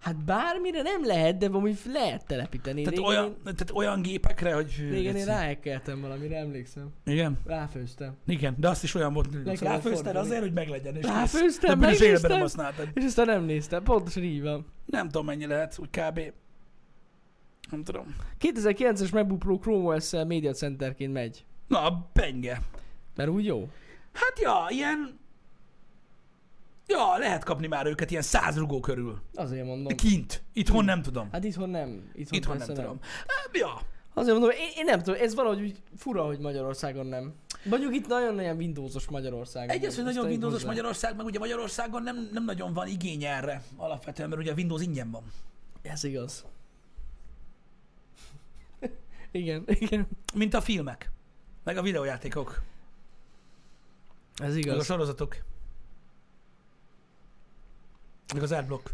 Speaker 2: Hát bármire nem lehet, de valami lehet telepíteni.
Speaker 1: Tehát
Speaker 2: régen
Speaker 1: olyan,
Speaker 2: Én,
Speaker 1: tehát olyan gépekre, hogy... hű,
Speaker 2: régen én
Speaker 1: geci.
Speaker 2: ráhekkeltem valamire, emlékszem.
Speaker 1: Igen,
Speaker 2: Ráfőztem.
Speaker 1: igen, de azt is olyan volt, hogy
Speaker 2: kellett
Speaker 1: ráfőzted
Speaker 2: fordulni.
Speaker 1: azért, hogy meglegyen, és kész.
Speaker 2: Ráfőztem,
Speaker 1: de bizonyos életben nem
Speaker 2: megnéztem.
Speaker 1: használtad.
Speaker 2: És aztán nem néztem, pontosan így van.
Speaker 1: Nem tudom, mennyi lehet, úgy kb. Nem tudom.
Speaker 2: 2009-es MacBook Pro Chrome OS -szel Media Centerként megy.
Speaker 1: Na, a penge.
Speaker 2: Mert úgy jó.
Speaker 1: Hát ja, ilyen... Ja, lehet kapni már őket ilyen száz rugó körül.
Speaker 2: Azért mondom.
Speaker 1: Kint. Itthon nem tudom.
Speaker 2: Hát itthon nem. Itthon,
Speaker 1: Itthon nem
Speaker 2: persze
Speaker 1: tudom. Hát, Ja,
Speaker 2: Azért mondom, én, én nem tudom, ez valahogy úgy fura, hogy Magyarországon nem. Mondjuk itt nagyon olyan Windowsos Magyarországon.
Speaker 1: Egy az, hogy
Speaker 2: Azt
Speaker 1: nagyon
Speaker 2: tegyük
Speaker 1: Windowsos
Speaker 2: hozzá.
Speaker 1: Magyarország, meg ugye Magyarországon nem, nem nagyon van igény erre alapvetően, mert ugye a Windows ingyen van.
Speaker 2: Ez igaz. igen, igen.
Speaker 1: Mint a filmek, meg a videójátékok,
Speaker 2: Ez
Speaker 1: meg a
Speaker 2: igaz.
Speaker 1: sorozatok, meg az adblock.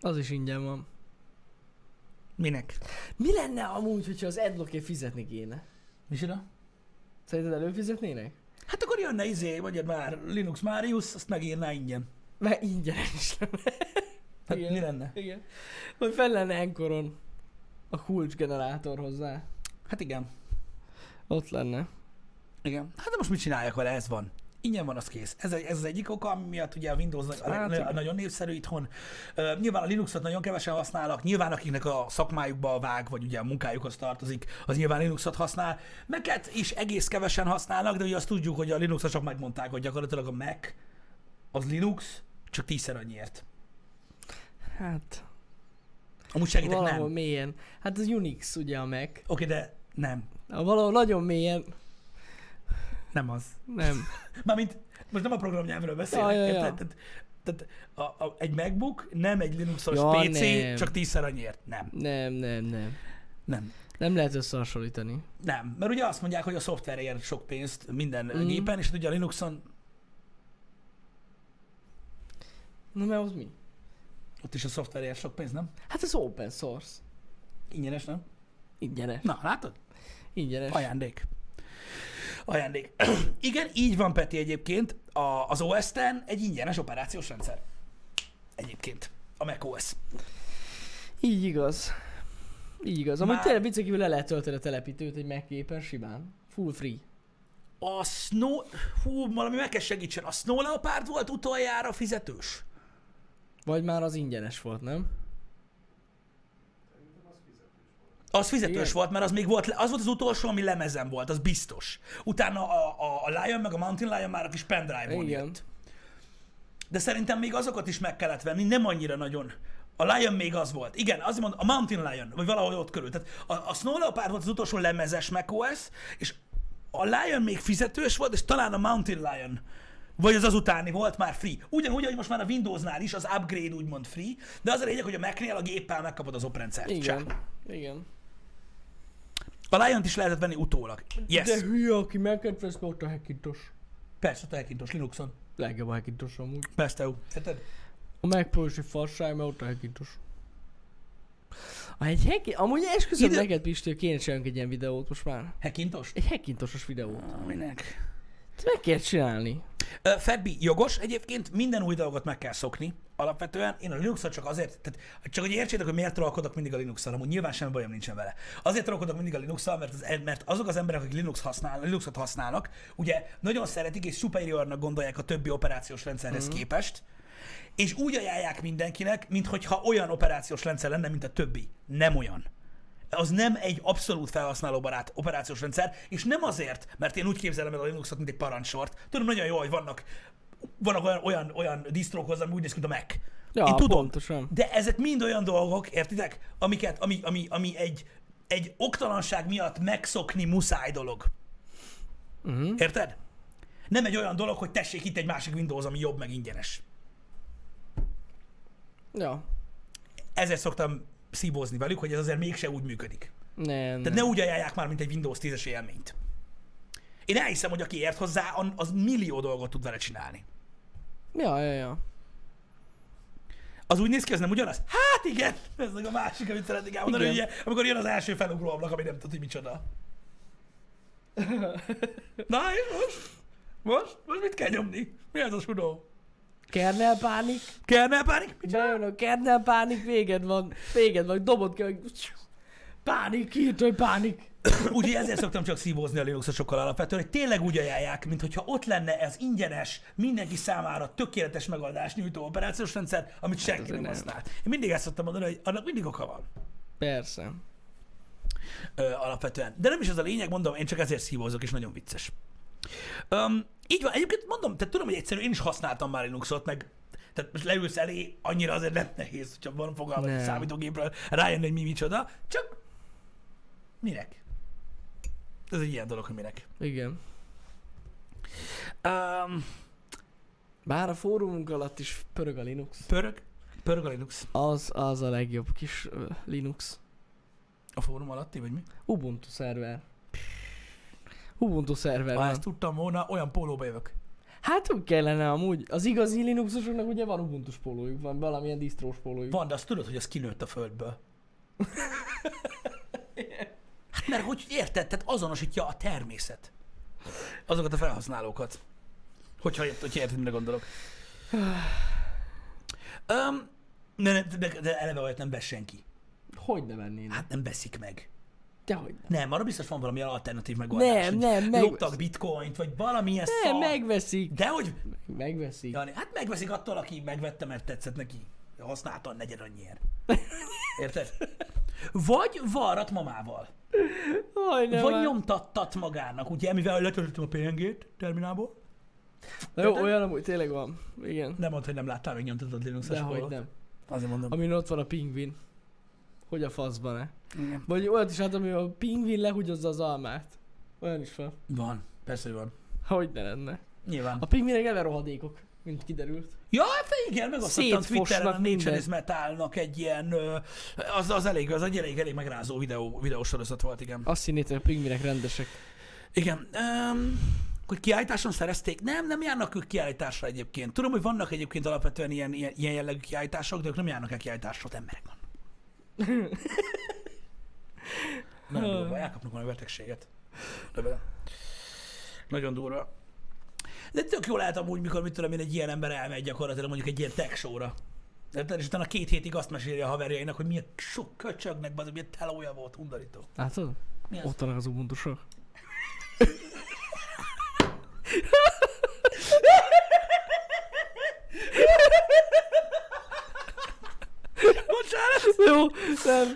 Speaker 2: Az is ingyen van.
Speaker 1: Minek?
Speaker 2: Mi lenne amúgy, hogyha az adblockért fizetni kéne?
Speaker 1: Mi csinál?
Speaker 2: Szerinted előfizetnének?
Speaker 1: Hát akkor jönne izé, mondjad már Linux Marius, azt megírná ingyen.
Speaker 2: Mert ingyenes is lenne.
Speaker 1: Hát
Speaker 2: Igen.
Speaker 1: mi lenne?
Speaker 2: igen. Vagy fel lenne enkoron a kulcsgenerátor hozzá.
Speaker 1: Hát igen.
Speaker 2: Ott lenne.
Speaker 1: Igen. Hát de most mit csináljak vele, ez van. ingyen van, az kész. Ez, egy- ez az egyik oka, ami miatt ugye a Windows a leg-
Speaker 2: Hát
Speaker 1: a
Speaker 2: igen.
Speaker 1: nagyon népszerű itthon. Ö, Nyilván a Linuxot nagyon kevesen használnak, nyilván akiknek a szakmájukba vág, vagy ugye a munkájukhoz tartozik, az nyilván Linuxot használ. Meket is egész kevesen használnak, de ugye azt tudjuk, hogy a Linuxosok megmondták, hogy gyakorlatilag a Mac az Linux, csak tízszer annyiért.
Speaker 2: Hát,
Speaker 1: Amúgy segítek, nem.
Speaker 2: valahol
Speaker 1: Oké,
Speaker 2: mélyen. Hát az Unix ugye a Mac.
Speaker 1: de nem,
Speaker 2: Valahol nagyon mélyen.
Speaker 1: nem az.
Speaker 2: Nem.
Speaker 1: Mármint, most nem a programnyelvről beszélek,
Speaker 2: Ja, ja, ja.
Speaker 1: érted? Tehát, tehát a, a, egy MacBook nem egy Linuxos
Speaker 2: Ja,
Speaker 1: PC,
Speaker 2: nem.
Speaker 1: csak tízszer annyiért. Nem,
Speaker 2: Nem, nem, nem.
Speaker 1: nem.
Speaker 2: Nem lehet összehasonlítani.
Speaker 1: Nem, mert ugye azt mondják, hogy a szoftver ér sok pénzt minden
Speaker 2: Mhm.
Speaker 1: mm. gépen, és hát ugye a Linuxon
Speaker 2: Na mert az mi?
Speaker 1: ott is a szoftver ér sok pénzt, nem?
Speaker 2: Hát ez open source.
Speaker 1: Ingyenes, nem?
Speaker 2: Ingyenes.
Speaker 1: Na, látod?
Speaker 2: Ingyenes.
Speaker 1: Ajándék. Ajándék. Igen, így van Peti egyébként. A, az os -en egy ingyenes operációs rendszer. Egyébként. A macOS.
Speaker 2: Így igaz. Így igaz. Amúgy
Speaker 1: Már-
Speaker 2: tényleg viccen kívül le lehet tölteni a telepítőt egy Mac gépen simán. Full free.
Speaker 1: A Snow... Hú, valami meg kell segítsen. A Snow Leopard volt utoljára fizetős?
Speaker 2: Vagy már az ingyenes volt, nem?
Speaker 1: Az fizetős
Speaker 2: Igen.
Speaker 1: Igen. volt, mert az még volt, le- az volt az utolsó, ami lemezen volt, az biztos. Utána a, a, a Lion meg a Mountain Lion már a kis pendrive-on
Speaker 2: Igen.
Speaker 1: jött. De szerintem még azokat is meg kellett venni, nem annyira nagyon. A Lion még az volt. Igen, azt mondom, a Mountain Lion, vagy valahol ott körül. Tehát a, a Snow Leopard volt az utolsó lemezes macOS, és a Lion még fizetős volt, és talán a Mountain Lion vagy az az utáni volt már free. Ugyanúgy, hogy most már a Windowsnál is az upgrade úgymond free, de az a lényeg, hogy a Mac-nél a géppel megkapod az oprendszert.
Speaker 2: Igen. Igen.
Speaker 1: A lion is lehetett venni utólag. Yes.
Speaker 2: De
Speaker 1: De...
Speaker 2: hülye, aki Mac-et vesz, ott a Hackintosh.
Speaker 1: Persze, te Hackintos Linuxon.
Speaker 2: Legjobb a Hackintosh amúgy.
Speaker 1: Persze, jó. Érted?
Speaker 2: A Mac Pro is egy fasság, mert ott a Hackintosh. A egy hack... Amúgy esküszöm
Speaker 1: Ide-
Speaker 2: neked, Pisti, hogy kéne csinálunk egy ilyen videót most már.
Speaker 1: Hackintos?
Speaker 2: Egy hackintosos videót.
Speaker 1: Minek?
Speaker 2: Ezt meg kell csinálni.
Speaker 1: Ö, Febbi, jogos egyébként, minden új dolgot meg kell szokni. Alapvetően én a linux csak azért, tehát csak hogy értsétek, hogy miért trollkodok mindig a linux amúgy nyilván semmi bajom nincsen vele. Azért trollkodok mindig a linux mert, az, e- mert azok az emberek, akik Linux használ, Linuxot használnak, ugye nagyon szeretik és superiornak gondolják a többi operációs rendszerhez mm. képest, és úgy ajánlják mindenkinek, mintha olyan operációs rendszer lenne, mint a többi. Nem olyan. az nem egy abszolút felhasználóbarát operációs rendszer, és nem azért, mert én úgy képzelem el a Linuxot, mint egy parancsort. Tudom nagyon jól, hogy vannak, vannak olyan, olyan, olyan disztrók hozzá, ami úgy néz ki, mint a Mac.
Speaker 2: Ja,
Speaker 1: én tudom,
Speaker 2: pontosan.
Speaker 1: de ezek mind olyan dolgok, értitek, amiket, ami, ami, ami egy, egy oktalanság miatt megszokni muszáj dolog. Uh-huh. Érted? Nem egy olyan dolog, hogy tessék itt egy másik Windows, ami jobb, meg ingyenes.
Speaker 2: Ja.
Speaker 1: Ezért szoktam szívózni velük, hogy ez azért mégse úgy működik.
Speaker 2: Nem, nem.
Speaker 1: Tehát ne úgy ajánlják már, mint egy Windows 10-es élményt. Én elhiszem, hogy aki ért hozzá, an- az millió dolgot tud vele csinálni.
Speaker 2: Ja, ja, ja.
Speaker 1: Az úgy néz ki, az nem ugyanaz? Hát igen! Ez meg a másik, amit szeretnék elmondani,
Speaker 2: Igen.
Speaker 1: ugye, amikor jön az első felugró ablak, ami nem tudod, hogy micsoda. Na és most? Most? Most mit kell nyomni? Mi az a sudó?
Speaker 2: Kernel pánik?
Speaker 1: Kellene pánik?
Speaker 2: Bejön a kernel pánik, véged van. Véged van, dobod ki, hogy... Pánik, kiírt, hogy pánik.
Speaker 1: Úgyhogy ezért szoktam csak szívózni a Linuxosokkal alapvetően, hogy tényleg úgy ajánlják, mintha ott lenne ez ingyenes, mindenki számára tökéletes megoldást nyújtó operációs rendszer, amit senki nem
Speaker 2: Hát nem.
Speaker 1: használ. Én mindig ezt szoktam mondani, hogy annak mindig oka van
Speaker 2: Persze.
Speaker 1: ö, alapvetően. De nem is az a lényeg, mondom, én csak ezért szívózok, és nagyon vicces. Öm, így van, egyébként mondom, tehát tudom, hogy egyszerű, én is használtam már Linuxot, meg tehát most leülsz elé, annyira azért nem nehéz, hogyha van fogalma egy
Speaker 2: Nem.
Speaker 1: számítógépről, rájönni, hogy mi micsoda, csak minek? Ez egy ilyen dolog, hogy minek.
Speaker 2: Igen.
Speaker 1: Um,
Speaker 2: Bár a fórumunk alatt is pörög a Linux.
Speaker 1: pörög, pörög a Linux
Speaker 2: Az, az a legjobb kis ö, Linux.
Speaker 1: a fórum alatti, vagy mi?
Speaker 2: Ubuntu szerver. Ubuntu szerver
Speaker 1: Ha
Speaker 2: van.
Speaker 1: ezt tudtam volna, olyan pólóba jövök.
Speaker 2: Hát úgy kellene amúgy. Az igazi Linuxosoknak ugye van ubuntu pólójuk, van valamilyen disztrós pólójuk.
Speaker 1: Van, de azt tudod, hogy az kinőtt a földből. Hát mert hogy érted, tehát azonosítja a természet. Azokat a felhasználókat. Hogyha ért, hogyha érted, mire gondolok. Um, ne, ne, de, de eleve olyat nem vesz senki.
Speaker 2: Hogy ne vennének?
Speaker 1: Hát nem veszik meg.
Speaker 2: Dehogy nem.
Speaker 1: Nem, arra biztos van valami alternatív megoldás.
Speaker 2: Nem,
Speaker 1: hogy
Speaker 2: nem, meg-
Speaker 1: Loptak bitcoint, vagy valamilyen
Speaker 2: Nem,
Speaker 1: szar.
Speaker 2: megveszik.
Speaker 1: De hogy...
Speaker 2: Megveszik.
Speaker 1: Jani, hát megveszik attól, aki megvette, mert tetszett neki. Használta a negyed annyiért. Érted? Vagy varrat mamával.
Speaker 2: Aj, nem
Speaker 1: Vagy
Speaker 2: már.
Speaker 1: nyomtattat magának, ugye, mivel letöltöttem a PNG-t terminálból.
Speaker 2: Na jó, olyan amúgy tényleg van. Igen.
Speaker 1: Nem mondd, hogy nem láttál még nyomtatott Linuxes
Speaker 2: Dehogy
Speaker 1: kollót.
Speaker 2: nem.
Speaker 1: Azért mondom.
Speaker 2: Amin ott van a pingvin. Hogy a faszban-e?
Speaker 1: Igen.
Speaker 2: Vagy olyat is hát, ami a pingvin lehugyozza az almát. Olyan is van.
Speaker 1: Van. Persze, hogy van.
Speaker 2: Hogy ne lenne.
Speaker 1: Nyilván.
Speaker 2: A pingvinek eleve rohadékok, mint kiderült.
Speaker 1: Ja, hát igen, megosztottam
Speaker 2: Szétfosnak
Speaker 1: Twitteren a
Speaker 2: mindent.
Speaker 1: Nature is Metalnak egy ilyen, ö, az, az elég, az egy elég, elég megrázó videó, videósorozat volt, igen.
Speaker 2: Azt hinnétek, hogy a pingvinek rendesek.
Speaker 1: Igen. Um, hogy kiállításon szerezték? Nem, nem járnak ők kiállításra egyébként. Tudom, hogy vannak egyébként alapvetően ilyen, ilyen, ilyen jellegű kiállítások, de ők nem járnak el kiállításra, ott emberek van. Nagyon durva, elkapnak valami betegséget. De be. Nagyon durva. De tök jó lehet amúgy, mikor mit tudom én, egy ilyen ember elmegy gyakorlatilag mondjuk egy ilyen tech show-ra. Érted? És utána két hétig azt meséli a haverjainak, hogy milyen sok köcsögnek, bazd, milyen telója volt, undorító.
Speaker 2: Látod?
Speaker 1: Mi az?
Speaker 2: Ott vannak az ubuntusok.
Speaker 1: Bocsánat!
Speaker 2: Jó, nem.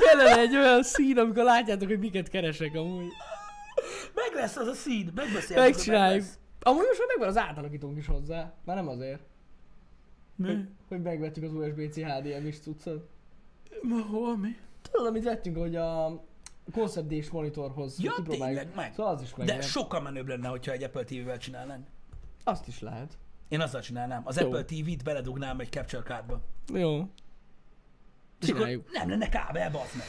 Speaker 2: Kellene egy olyan szín, amikor látjátok, hogy miket keresek amúgy.
Speaker 1: Meg lesz az a szín, megbeszéltük. hogy
Speaker 2: Megcsináljuk.
Speaker 1: meg lesz.
Speaker 2: Amúgy most már megvan az átalakítónk is hozzá. Már nem azért.
Speaker 1: Mi?
Speaker 2: Hogy megvettük az USB-C HDMI-s cuccot.
Speaker 1: Ma hol mi?
Speaker 2: Tudod, amit vettünk, hogy a Concept D-s monitorhoz
Speaker 1: Ja,
Speaker 2: kipróbáljuk.
Speaker 1: tényleg, meg.
Speaker 2: Szóval az is meg.
Speaker 1: De sokkal menőbb lenne, hogyha egy Apple TV-vel csinálnánk.
Speaker 2: Azt is lehet.
Speaker 1: Én azzal csinálnám. Az
Speaker 2: Jó.
Speaker 1: Apple TV-t beledugnám egy Capture Cardba.
Speaker 2: Jó.
Speaker 1: És akkor
Speaker 2: Csináljuk.
Speaker 1: Nem lenne kábel, bazd meg.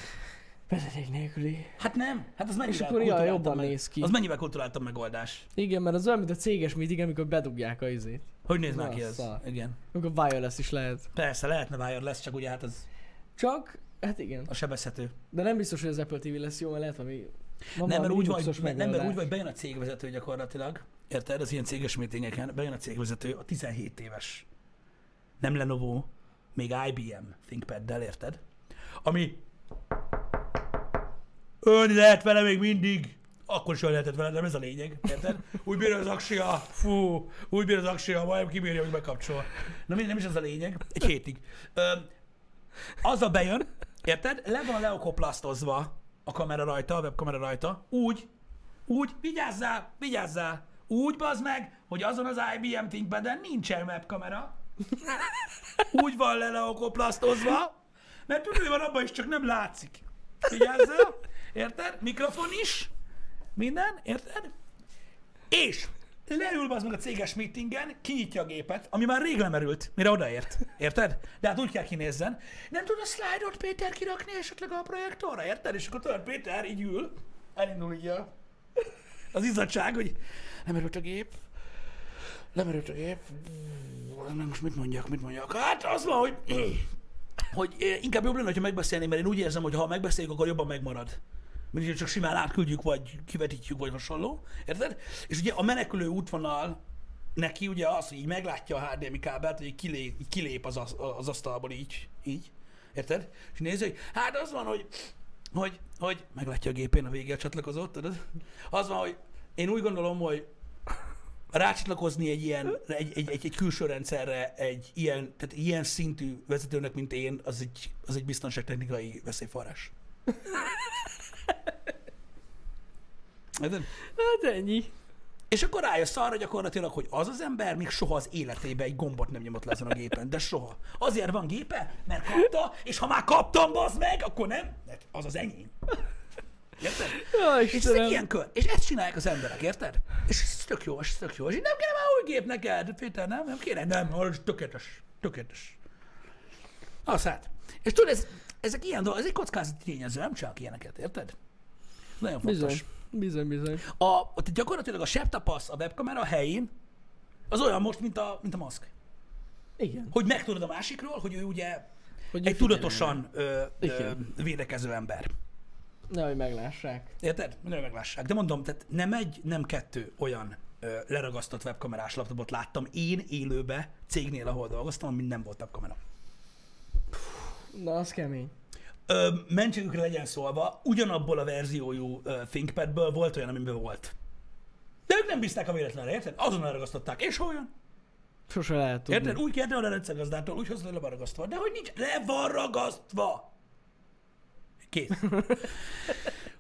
Speaker 2: Vezeték nélküli.
Speaker 1: Hát nem? Hát az mennyivel
Speaker 2: akkor ilyen
Speaker 1: kulturáltabb
Speaker 2: jobban
Speaker 1: meg-
Speaker 2: néz ki.
Speaker 1: Az mennyivel kulturáltabb megoldás?
Speaker 2: Igen, mert az olyan, mint a céges meeting, amikor bedugják a izét.
Speaker 1: Hogy néz már
Speaker 2: Na,
Speaker 1: ki ez?
Speaker 2: szar.
Speaker 1: Igen.
Speaker 2: Amikor wireless is lehet.
Speaker 1: Persze, lehetne vájad lesz, csak ugye hát az
Speaker 2: Csak, hát igen.
Speaker 1: a sebezhető.
Speaker 2: De nem biztos, hogy az Apple TV lesz jó, mert lehet valami... Van
Speaker 1: nem, mert
Speaker 2: valami
Speaker 1: úgy van,
Speaker 2: Linuxos
Speaker 1: hogy- nem, mert
Speaker 2: megoldás.
Speaker 1: úgy van, hogy bejön a cégvezető gyakorlatilag. Érted? Az ilyen céges meetingeken bejön a cégvezető, a 17 éves. Nem Lenovo, még IBM ThinkPad-del, érted? Ami ölni lehet vele még mindig. Akkor is ölni lehetett vele, de nem ez a lényeg, érted? Úgy bírja az aksia, fú, úgy bírja az aksia, majdnem kibírja, hogy bekapcsol. Na mindegy, nem is ez a lényeg, egy hétig. Öm, az a bejön, érted? Le van leokoplastozva a kamera rajta, a webkamera rajta, úgy, úgy, vigyázzál, vigyázzál, úgy bazd meg, hogy azon az IBM ThinkPad-en nincsen webkamera, úgy van le leokoplastozva, mert tükrő van abban is, csak nem látszik. Vigyázzál, érted? Mikrofon is, minden, érted? És leül az meg a céges meetingen, kinyitja a gépet, ami már rég lemerült, mire odaért. Érted? De hát úgy kell kinézzen. Nem tud a slide-ot Péter kirakni esetleg a projektorra, érted? És akkor tudod, Péter így ül, elindul így a... az izzadság, hogy nem erült a gép, nem erült a gép, nem most mit mondjak, mit mondjak? Hát az van, hogy hogy eh, inkább jobb lenne, ha megbeszélném, mert én úgy érzem, hogy ha megbeszéljük, akkor jobban megmarad. Mint hogyha csak simán átküldjük, vagy kivetítjük, vagy hasonló. Érted? És ugye a menekülő útvonal neki ugye az, hogy így meglátja a HDMI kábelt, hogy így kilé, így kilép az, asz- az asztalból így, így. Érted? És nézi, hogy hát az van, hogy, hogy, hogy meglátja a gépén a végé a csatlakozót, tudod? Az van, hogy én úgy gondolom, hogy rácsatlakozni egy ilyen, egy, egy, egy, egy külső rendszerre, egy ilyen, tehát ilyen szintű vezetőnek, mint én, az egy, az egy biztonságtechnikai veszélyforrás. Érted?
Speaker 2: Hát ennyi.
Speaker 1: És akkor rájössz arra gyakorlatilag, hogy az az ember még soha az életében egy gombot nem nyomott le ezen a gépen, de soha. Azért van gépe, mert kapta, és ha már kaptam, bazd meg, akkor nem, mert az az enyém. Érted?
Speaker 2: Jaj,
Speaker 1: És ez egy
Speaker 2: Istenem.
Speaker 1: ilyen kör. És ezt csinálják az emberek, érted? És ez tök jó, és ez tök jó. És így nem kéne már új gép neked, Péter, nem? Nem kéne? Nem, az tökéletes. Tökéletes. Az hát. És tudod, ez, ezek ilyen dolgok, ez egy kockázati tényező, nem csak ilyeneket, érted? Nagyon fontos.
Speaker 2: Bizony. Bizony, bizony.
Speaker 1: A, ott gyakorlatilag a septapasz, a webkamera a helyén, az olyan most, mint a, mint a maszk.
Speaker 2: Igen.
Speaker 1: Hogy megtudod a másikról, hogy ő ugye
Speaker 2: Hogy
Speaker 1: egy
Speaker 2: figyeljenek.
Speaker 1: tudatosan ö, ö,
Speaker 2: Igen.
Speaker 1: védekező ember.
Speaker 2: Nehogy meglássák.
Speaker 1: Érted? Nagyon meglássák. De mondom, tehát nem egy, nem kettő olyan ö, leragasztott webkamerás laptopot láttam én élőbe cégnél, ahol dolgoztam, amin nem volt webkamera.
Speaker 2: Na, az kemény.
Speaker 1: Ö, mentségükre legyen szólva, ugyanabból a verziójú ö, ThinkPadből volt olyan, amiben volt. De ők nem bízták a véletlenre, érted? Azonnal ragasztották. És hol jön?
Speaker 2: Sose lehet tudni.
Speaker 1: Érted? Úgy kérte a rendszergazdától, úgy hozta le van ragasztva. De hogy nincs, le van ragasztva! Kész.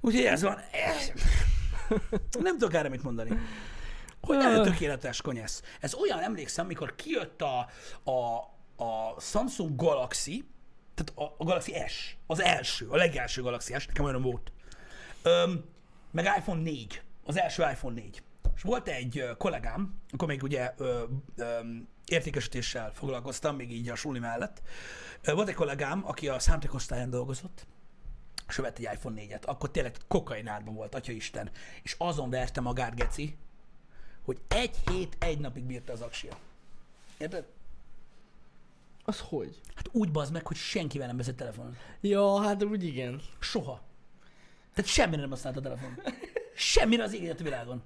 Speaker 1: Úgyhogy ez van. Nem tudok erre mit mondani. Hogy nem tökéletes konyesz. Ez olyan, emlékszem, mikor kijött a, a, a Samsung Galaxy, tehát a, a Galaxy S, az első, a legelső Galaxy S, nekem olyan volt. Öm, meg iPhone 4, az első iPhone 4. És volt egy ö, kollégám, akkor még ugye ö, ö, értékesítéssel foglalkoztam, még így a suli mellett. Ö, volt egy kollégám, aki a számítékosztályon dolgozott, és ő vett egy iPhone 4-et. Akkor tényleg kokainárban volt, atya Isten. És azon verte magát, Geci, hogy egy hét, egy napig bírta az aksia. Érted?
Speaker 2: Az hogy?
Speaker 1: Hát úgy bazd meg, hogy senkivel nem beszélt telefonon.
Speaker 2: Ja, hát úgy igen.
Speaker 1: Soha. Tehát semmire nem használt a telefon. Semmire az ég a világon.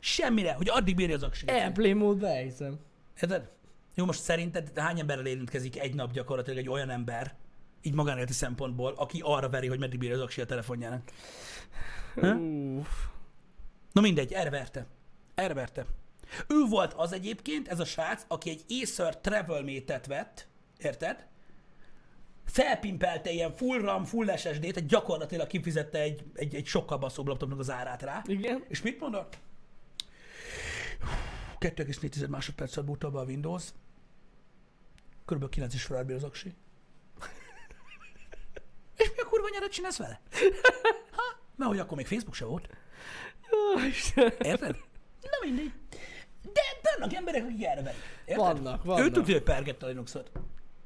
Speaker 1: Semmire, hogy addig bírja az aksit.
Speaker 2: Airplay módba elhiszem.
Speaker 1: Érted? Jó, most szerinted hány emberrel érintkezik egy nap gyakorlatilag egy olyan ember, így magánéleti szempontból, aki arra veri, hogy meddig bírja az aksi a telefonjának. Hä?
Speaker 2: Uff.
Speaker 1: Na mindegy, erre verte. Erre verte. Ő volt az egyébként, ez a srác, aki egy Acer travel métet vett, érted? Felpimpelte ilyen full RAM, full SSD-t, tehát gyakorlatilag kifizette egy, egy, egy sokkal baszóbb laptopnak az árát rá.
Speaker 2: Igen.
Speaker 1: És mit mondott? 2,4 másodperc alatt bújta be a Windows. Körülbelül 9 is feláll az aksi. És mi a kurva nyarat csinálsz vele? Ha? Mert hogy akkor még Facebook se volt.
Speaker 2: Ó, Istenem.
Speaker 1: Érted? Na mindegy. De vannak emberek, akik erre verik. Érted?
Speaker 2: Vannak, vannak.
Speaker 1: Ő tudja, hogy pergette a Linuxot.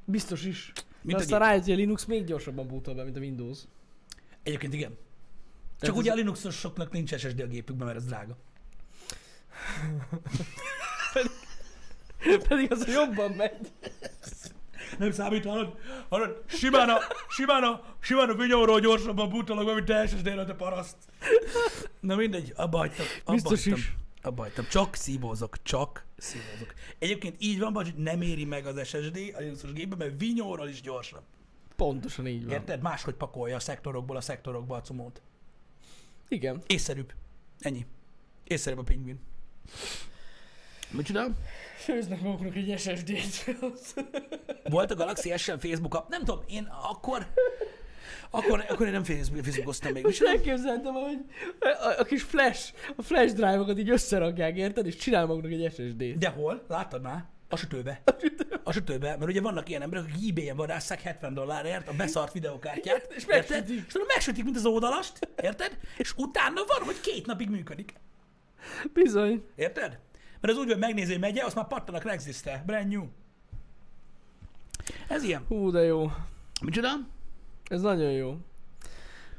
Speaker 2: Biztos is.
Speaker 1: Mint
Speaker 2: Mint
Speaker 1: a
Speaker 2: aztán
Speaker 1: gép.
Speaker 2: rájött, hogy a Linux még gyorsabban bútol be, mint a Windows.
Speaker 1: Egyébként igen. Csak
Speaker 2: Tehát
Speaker 1: ugye a
Speaker 2: ez-
Speaker 1: Linuxosoknak nincs SSD a gépükben, mert ez drága.
Speaker 2: Pedig az jobban megy.
Speaker 1: Nem számít, hallod? hallod? Simán a, simán a, simán a vinyóról gyorsabban bútolok be, mint te SSD-ről, te paraszt. Na mindegy, abba hagytam. Abba
Speaker 2: Biztos
Speaker 1: hagytam,
Speaker 2: is.
Speaker 1: Abba hagytam. Csak szívózok, csak szívózok. Egyébként így van, hogy nem éri meg az SSD a Linuxos gépben, mert vinyóról is gyorsabb.
Speaker 2: Pontosan így van.
Speaker 1: Érted? Máshogy pakolja a szektorokból a szektorokba a cumót.
Speaker 2: Igen.
Speaker 1: Észszerűbb. Ennyi. Észszerűbb a pingvin. Mit csinál?
Speaker 2: Főznek maguknak egy SSD-t.
Speaker 1: Volt a Galaxy s Facebook app. Nem tudom, én akkor... Akkor, akkor én nem Facebook, Facebookoztam még. Mit
Speaker 2: Most
Speaker 1: csinál?
Speaker 2: elképzeltem, hogy a, a, a kis flash, a flash drive-okat így összerakják, érted? És csinál maguknak egy SSD-t.
Speaker 1: De hol? Láttad már? A sütőbe. A sütőbe, mert ugye vannak ilyen emberek, akik ebay-en vadásszák 70 dollárért a beszart videókártyát,
Speaker 2: És
Speaker 1: érted?
Speaker 2: megsütik.
Speaker 1: És tudom, megsütik, mint az ódalast, érted? És utána van, hogy két napig működik.
Speaker 2: Bizony.
Speaker 1: Érted? Mert az úgy, hogy megnézi, hogy megye, azt már pattanak Rexistre. Brand new. Ez ilyen.
Speaker 2: Hú, de jó.
Speaker 1: Micsoda?
Speaker 2: Ez nagyon jó.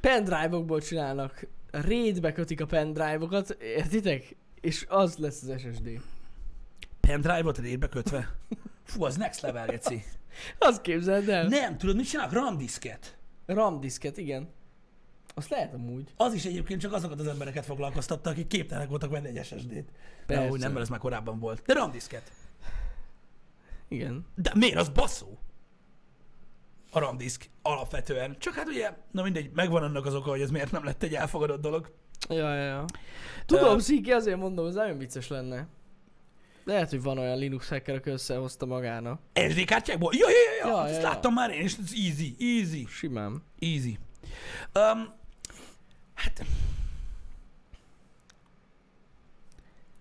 Speaker 2: Pendrive-okból csinálnak. Raidbe kötik a pendrive-okat, értitek? És az lesz az SSD.
Speaker 1: Pendrive-ot rétbe kötve. Fú, az next level, Geci.
Speaker 2: Azt képzeld el.
Speaker 1: Nem, tudod, mit csinálnak? RAM diszket.
Speaker 2: RAM diszket, igen. Azt lehet amúgy.
Speaker 1: Az is egyébként csak azokat az embereket foglalkoztatta, akik képtelenek voltak venni egy SSD-t.
Speaker 2: Persze.
Speaker 1: Nem, úgy nem, mert ez már korábban volt. De RAM diszket.
Speaker 2: Igen.
Speaker 1: De miért? Az baszó. A RAM diszk alapvetően. Csak hát ugye, na mindegy, megvan annak az oka, hogy ez miért nem lett egy elfogadott dolog.
Speaker 2: Ja, ja, ja. Tudom,
Speaker 1: Ö,
Speaker 2: uh, Sziki, azért mondom, ez nagyon vicces lenne. Lehet, hogy van olyan Linux hacker, aki összehozta magának.
Speaker 1: SD kártyákból? Ja, ja, ja, ja,
Speaker 2: Ja,
Speaker 1: hát
Speaker 2: ja,
Speaker 1: ezt
Speaker 2: ja.
Speaker 1: láttam már én, és ez easy, easy,
Speaker 2: Simán.
Speaker 1: easy. Um, hát...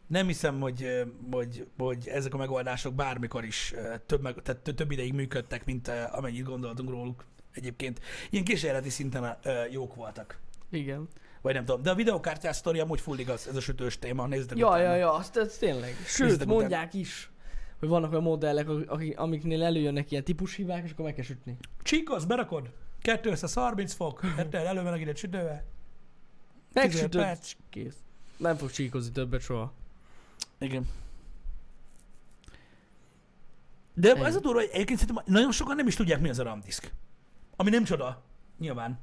Speaker 1: Nem hiszem, hogy, ö, hogy, hogy ezek a megoldások bármikor is ö, több, meg, tehát tö- több ideig működtek, mint ö, amennyit gondoltunk róluk egyébként. Ilyen kísérleti szinten ö, jók voltak.
Speaker 2: Igen.
Speaker 1: Vagy nem tudom, de a videokártyás sztori amúgy full igaz, ez a sütős téma, nézzük
Speaker 2: Ja, ja, ja, azt ez tényleg. Sőt,
Speaker 1: Nézzétek
Speaker 2: mondják is, hogy vannak olyan modellek, ak- akik, amiknél előjönnek ilyen típushibák, és akkor meg kell sütni.
Speaker 1: Csíkosz, berakod? 230 fok, érted? Előmelegíted sütővel? 15
Speaker 2: Megsütöd.
Speaker 1: perc.
Speaker 2: Kész. Nem fog csíkozni többet soha.
Speaker 1: Igen. De
Speaker 2: Ennyi.
Speaker 1: az a durva, hogy egyébként szerintem nagyon sokan nem is tudják, mi az a RAM disk. Ami nem csoda, nyilván.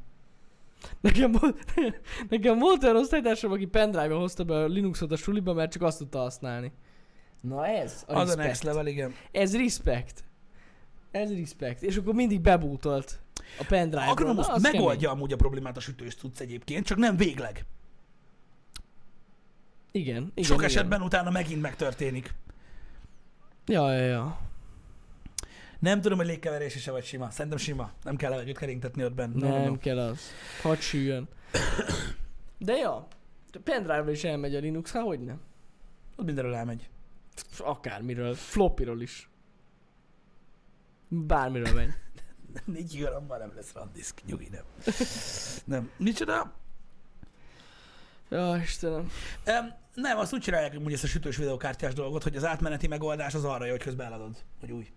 Speaker 2: Nekem volt, nekem volt olyan osztálytársam, aki pendrive hozta be a Linuxot a suliba, mert csak azt tudta használni. Na ez a
Speaker 1: az a
Speaker 2: respect.
Speaker 1: next level, igen.
Speaker 2: Ez respect. Ez respect. És akkor mindig bebútolt. A pendrive
Speaker 1: Agronomus megoldja amúgy a problémát a sütős cucc egyébként, csak nem végleg. Igen,
Speaker 2: Igen, igen.
Speaker 1: Sok
Speaker 2: igen.
Speaker 1: esetben utána megint megtörténik.
Speaker 2: Ja, ja, ja.
Speaker 1: Nem tudom, hogy légkeverés is vagy sima. Szerintem sima. Nem kell levegőt kerintetni ott benne. No, no,
Speaker 2: nem
Speaker 1: no.
Speaker 2: kell az. Hadd süljön. De ja, a pendrive is elmegy a Linux, hát hogy nem?
Speaker 1: Ott mindenről elmegy.
Speaker 2: Pff, Akármiről, flopiról is. Bármiről megy.
Speaker 1: Négy garamban nem lesz randisk, nyugi, nem. Nem. Micsoda?
Speaker 2: Ja, Istenem.
Speaker 1: Um, nem, azt úgy csinálják amúgy ezt a sütős videokártyás dolgot, hogy az átmeneti megoldás az arra jó, hogy közben eladod, hogy új.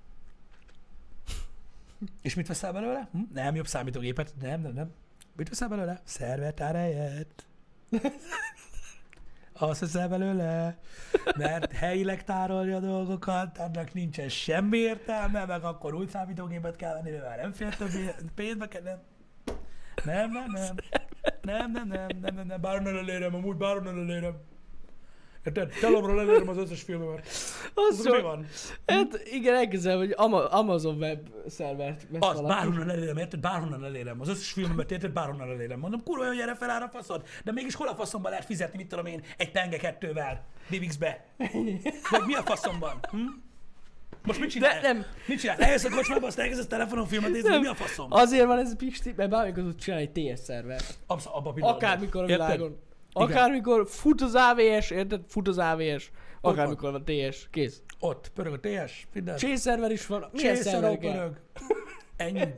Speaker 1: És mit veszel belőle? Hm? Nem, jobb számítógépet. Nem, nem, nem. Mit veszel belőle? Szervert helyett. Azt veszel belőle, mert helyileg tárolja a dolgokat, annak nincsen semmi értelme, meg akkor új számítógépet kell venni, mivel nem fér többé, pénzbe kell, nem. Nem, nem, nem. Nem, nem, nem, nem, nem, nem, bárhonnan elérem, amúgy bárhonnan elérem. Érted? Telomról elérem az összes filmemet.
Speaker 2: Az
Speaker 1: Az mi
Speaker 2: jó.
Speaker 1: van?
Speaker 2: Hát igen, elkezdem, hogy Ama- Amazon web szervert vesz
Speaker 1: Az,
Speaker 2: valaki.
Speaker 1: bárhonnan elérem, érted? Bárhonnan elérem. Az összes filmemet, érted? Bárhonnan elérem. Mondom, kurva, jó, gyere fel ára a faszod. De mégis hol a faszomban lehet fizetni, mit tudom én, egy penge kettővel, DivX-be? Vagy mi a faszomban? Hm? Most mit csinál?
Speaker 2: De nem.
Speaker 1: Mit csinál? Lejössz a kocsmába, azt elkezdesz telefonon filmet nézni, hogy mi a faszom?
Speaker 2: Azért van ez a Pisti, mert bármikor tud csinálni egy TS szervert.
Speaker 1: Absz- abba a pillanatban.
Speaker 2: Akármikor a
Speaker 1: Érted?
Speaker 2: világon. Akármikor fut az AVS, érted? Fut az AVS. Akármikor van TS, kész.
Speaker 1: Ott, pörög a TS, minden.
Speaker 2: Chase szerver is van. Milyen szerver
Speaker 1: Csészarok
Speaker 2: kell?
Speaker 1: örök. Ennyi.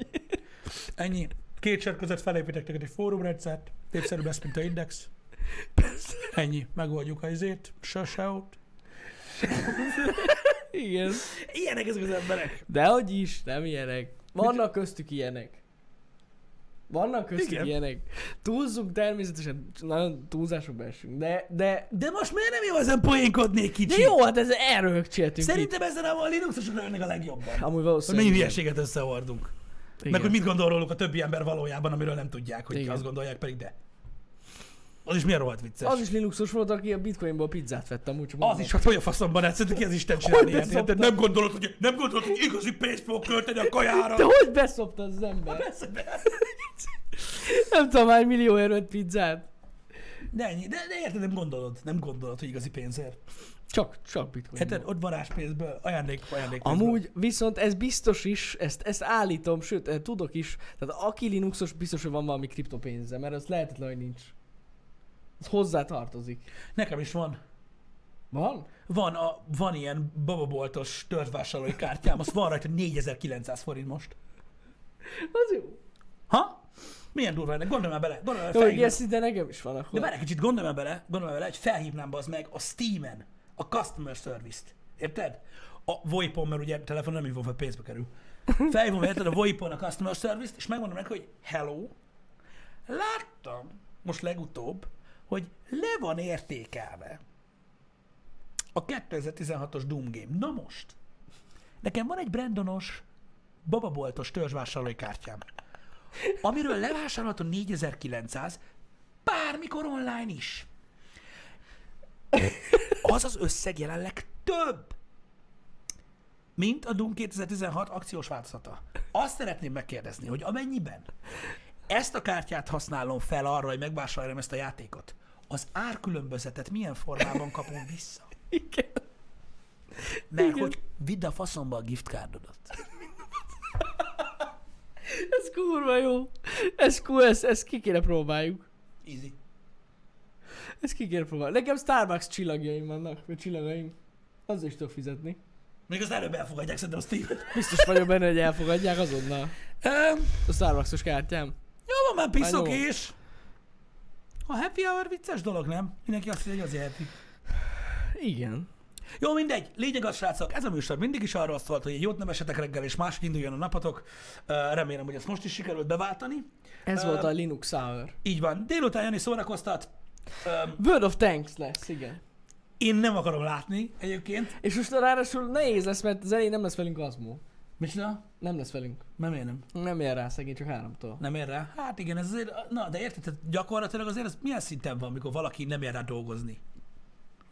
Speaker 1: Ennyi. Két sor között felépítek neked egy fórumrendszert, népszerűbb lesz, mint a Index. Ennyi. Megoldjuk a izét. Saseót.
Speaker 2: Igen.
Speaker 1: Ilyenek ezek az emberek.
Speaker 2: Dehogy is, nem ilyenek. Vannak köztük ilyenek. Vannak köztük
Speaker 1: Igen.
Speaker 2: Igen. ilyenek. Túlzunk természetesen, nagyon túlzásokba esünk, de, de...
Speaker 1: De most miért nem jó ezen poénkodni egy
Speaker 2: De
Speaker 1: kicsit?
Speaker 2: jó, hát ez erről högcséltünk
Speaker 1: Szerintem ezen a Linuxosok lőnek a legjobban.
Speaker 2: itt. Amúgy
Speaker 1: Hogy
Speaker 2: valószínűleg...
Speaker 1: mennyi
Speaker 2: igen.
Speaker 1: hülyeséget összehordunk.
Speaker 2: Igen.
Speaker 1: Meg hogy mit gondol róluk a többi ember valójában, amiről nem tudják, hogy
Speaker 2: Igen.
Speaker 1: azt gondolják, pedig de. Az is milyen rohadt vicces.
Speaker 2: Az is Linuxos volt, aki a bitcoinból pizzát vett amúgy csak
Speaker 1: Az
Speaker 2: mondom.
Speaker 1: is, hogy hogy a faszomban egyszerűen ki az Isten csinál
Speaker 2: Hogy
Speaker 1: ilyet, érted?
Speaker 2: beszoptad?
Speaker 1: Nem gondolod, hogy, nem gondolod, hogy igazi pénzt fogok költeni a kajára?
Speaker 2: De hogy beszopta az ember?
Speaker 1: Persze, persze.
Speaker 2: Nem tudom, hány millió erőt pizzát.
Speaker 1: De ennyi, de, de érted, nem gondolod, nem gondolod, hogy igazi pénzért.
Speaker 2: Csak, csak bitcoin.
Speaker 1: Érted, ott varázspénzből, ajándék, ajándék.
Speaker 2: Amúgy viszont ez biztos is, ezt, ezt állítom, sőt, eh, tudok is, tehát aki Linuxos biztos, hogy van valami kriptopénze, mert az lehetetlen, hogy nincs. Ez hozzá tartozik.
Speaker 1: Nekem is van.
Speaker 2: Van?
Speaker 1: Van, a, van ilyen bababoltos törvásárlói kártyám, azt van rajta 4900 forint most.
Speaker 2: Az jó.
Speaker 1: Ha? Milyen durva ennek, gondolj már bele, gondolj már
Speaker 2: Jó, hogy ilyen
Speaker 1: felhívnám.
Speaker 2: szinte nekem is van akkor.
Speaker 1: De várj egy kicsit, gondolj már bele, gondolj már bele, hogy felhívnám az meg a Steam-en a customer service-t. Érted? A VoIP-on, mert ugye telefon nem hívom fel, pénzbe kerül. Felhívom, érted, a VoIP-on a customer service-t, és megmondom neki, hogy hello, láttam most legutóbb, hogy le van értékelve a 2016-os Doom game. Na most, nekem van egy Brandonos bababoltos törzsvásárlói kártyám, amiről levásárolható 4900, bármikor online is. Az az összeg jelenleg több, mint a Doom 2016 akciós változata. Azt szeretném megkérdezni, hogy amennyiben ezt a kártyát használom fel arra, hogy megvásároljam ezt a játékot, az árkülönbözetet milyen formában kapom vissza?
Speaker 2: Igen.
Speaker 1: Mert
Speaker 2: Igen.
Speaker 1: hogy vidd a faszomba a giftkárdodat.
Speaker 2: Ez kurva jó. Ez cool, ezt, ezt ki kéne próbáljuk.
Speaker 1: Easy.
Speaker 2: Ezt ki kéne próbáljuk. Nekem Starbucks csillagjaim vannak, vagy csillagaim. Az is tudok fizetni.
Speaker 1: Még az előbb elfogadják szerintem a Steam-et.
Speaker 2: Biztos vagyok benne, hogy elfogadják azonnal.
Speaker 1: Öm,
Speaker 2: A Starbucsos kártyám.
Speaker 1: Jó, van már piszok
Speaker 2: Már jó.
Speaker 1: és... A happy hour vicces dolog, nem? Mindenki azt hiszi, hogy az happy.
Speaker 2: Igen.
Speaker 1: Jó, mindegy. Lényeg az, srácok, ez a műsor mindig is arról szólt, hogy egy jót nem esetek reggel, és máshogy induljon a napotok. Ö, Remélem, hogy ezt most is sikerült beváltani.
Speaker 2: Ez
Speaker 1: Ö,
Speaker 2: volt a Linux Hour.
Speaker 1: Így van. Délután Jani szórakoztat. Öm,
Speaker 2: World of Tanks lesz, igen.
Speaker 1: Én nem akarom látni egyébként.
Speaker 2: És most ráadásul nehéz lesz, mert az elején nem lesz velünk Azmó.
Speaker 1: Mit csinál?
Speaker 2: Nem lesz velünk.
Speaker 1: Nem én nem.
Speaker 2: Nem ér rá szegény, csak háromtól.
Speaker 1: Nem ér rá? Hát igen, ez azért, na de érted, tehát gyakorlatilag azért ez milyen szinten van, mikor valaki nem ér rá dolgozni.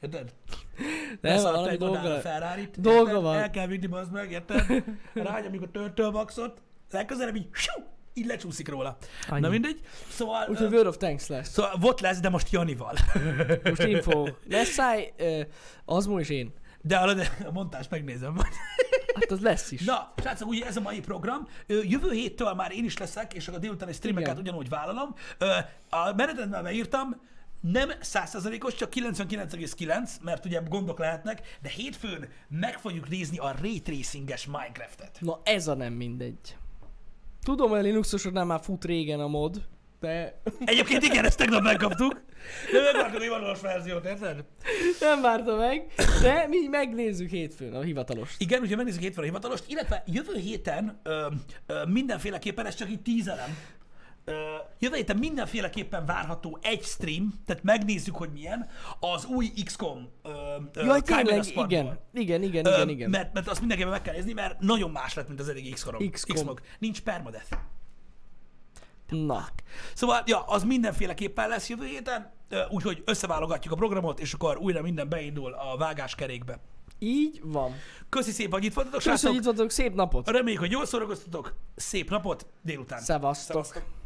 Speaker 1: Érted?
Speaker 2: Nem,
Speaker 1: Leszaladt
Speaker 2: valami
Speaker 1: egy odáll a
Speaker 2: dolga.
Speaker 1: ferrari
Speaker 2: Dolga van.
Speaker 1: El kell vinni, az meg, érted? Rágy, amikor törtöl maxot, legközelebb így, siu, így lecsúszik róla. Annyi.
Speaker 2: Annyi.
Speaker 1: Na mindegy. Szóval,
Speaker 2: Úgyhogy
Speaker 1: ö,
Speaker 2: World of Tanks lesz.
Speaker 1: szóval volt lesz, de most Janival.
Speaker 2: Most info. Lesz száj, Azmo és én.
Speaker 1: De a, a montást megnézem majd.
Speaker 2: Hát az lesz is.
Speaker 1: Na, srácok, ugye ez a mai program. Ö, Jövő héttől már én is leszek, és a délutáni streameket
Speaker 2: Igen.
Speaker 1: ugyanúgy vállalom. Ö, A menetendben beírtam, nem 100%-os, csak 99,9, mert ugye gondok lehetnek, de hétfőn meg fogjuk nézni a ray tracinges Minecraftet.
Speaker 2: Na ez a nem mindegy. Tudom, hogy a Linuxosodnál már fut régen a mod, de
Speaker 1: Egyébként igen, ezt tegnap megkaptuk, de megvártuk a hivatalos verziót, érted?
Speaker 2: nem várta meg, de mi megnézzük hétfőn a hivatalos.
Speaker 1: Igen, ugye megnézzük hétfőn a hivatalost, illetve jövő héten ö, ö, mindenféleképpen, ez csak így tízelem, ö, jövő héten mindenféleképpen várható egy stream, tehát megnézzük, hogy milyen, az új XCOM ö, ö, Chimera
Speaker 2: Jaj, tényleg,
Speaker 1: Squadból.
Speaker 2: igen, igen, igen,
Speaker 1: Ö,
Speaker 2: igen, igen.
Speaker 1: Mert, mert azt mindenképpen meg kell nézni, mert nagyon más lett, mint az eddig XCOM.
Speaker 2: XCOM.
Speaker 1: XCOM. Nincs permadeath.
Speaker 2: Na,
Speaker 1: Szóval, ja, az mindenféleképpen lesz jövő héten, ö, úgyhogy összeválogatjuk a programot, és akkor újra minden beindul a vágáskerékbe.
Speaker 2: így van.
Speaker 1: Köszi szépen, hogy itt voltatok,
Speaker 2: Köszönjük,
Speaker 1: srácok!
Speaker 2: hogy itt voltatok, szép napot!
Speaker 1: Reméljük, hogy jól szórakoztatok, szép napot, délután.
Speaker 2: Szevasztok!
Speaker 1: Szevasztok.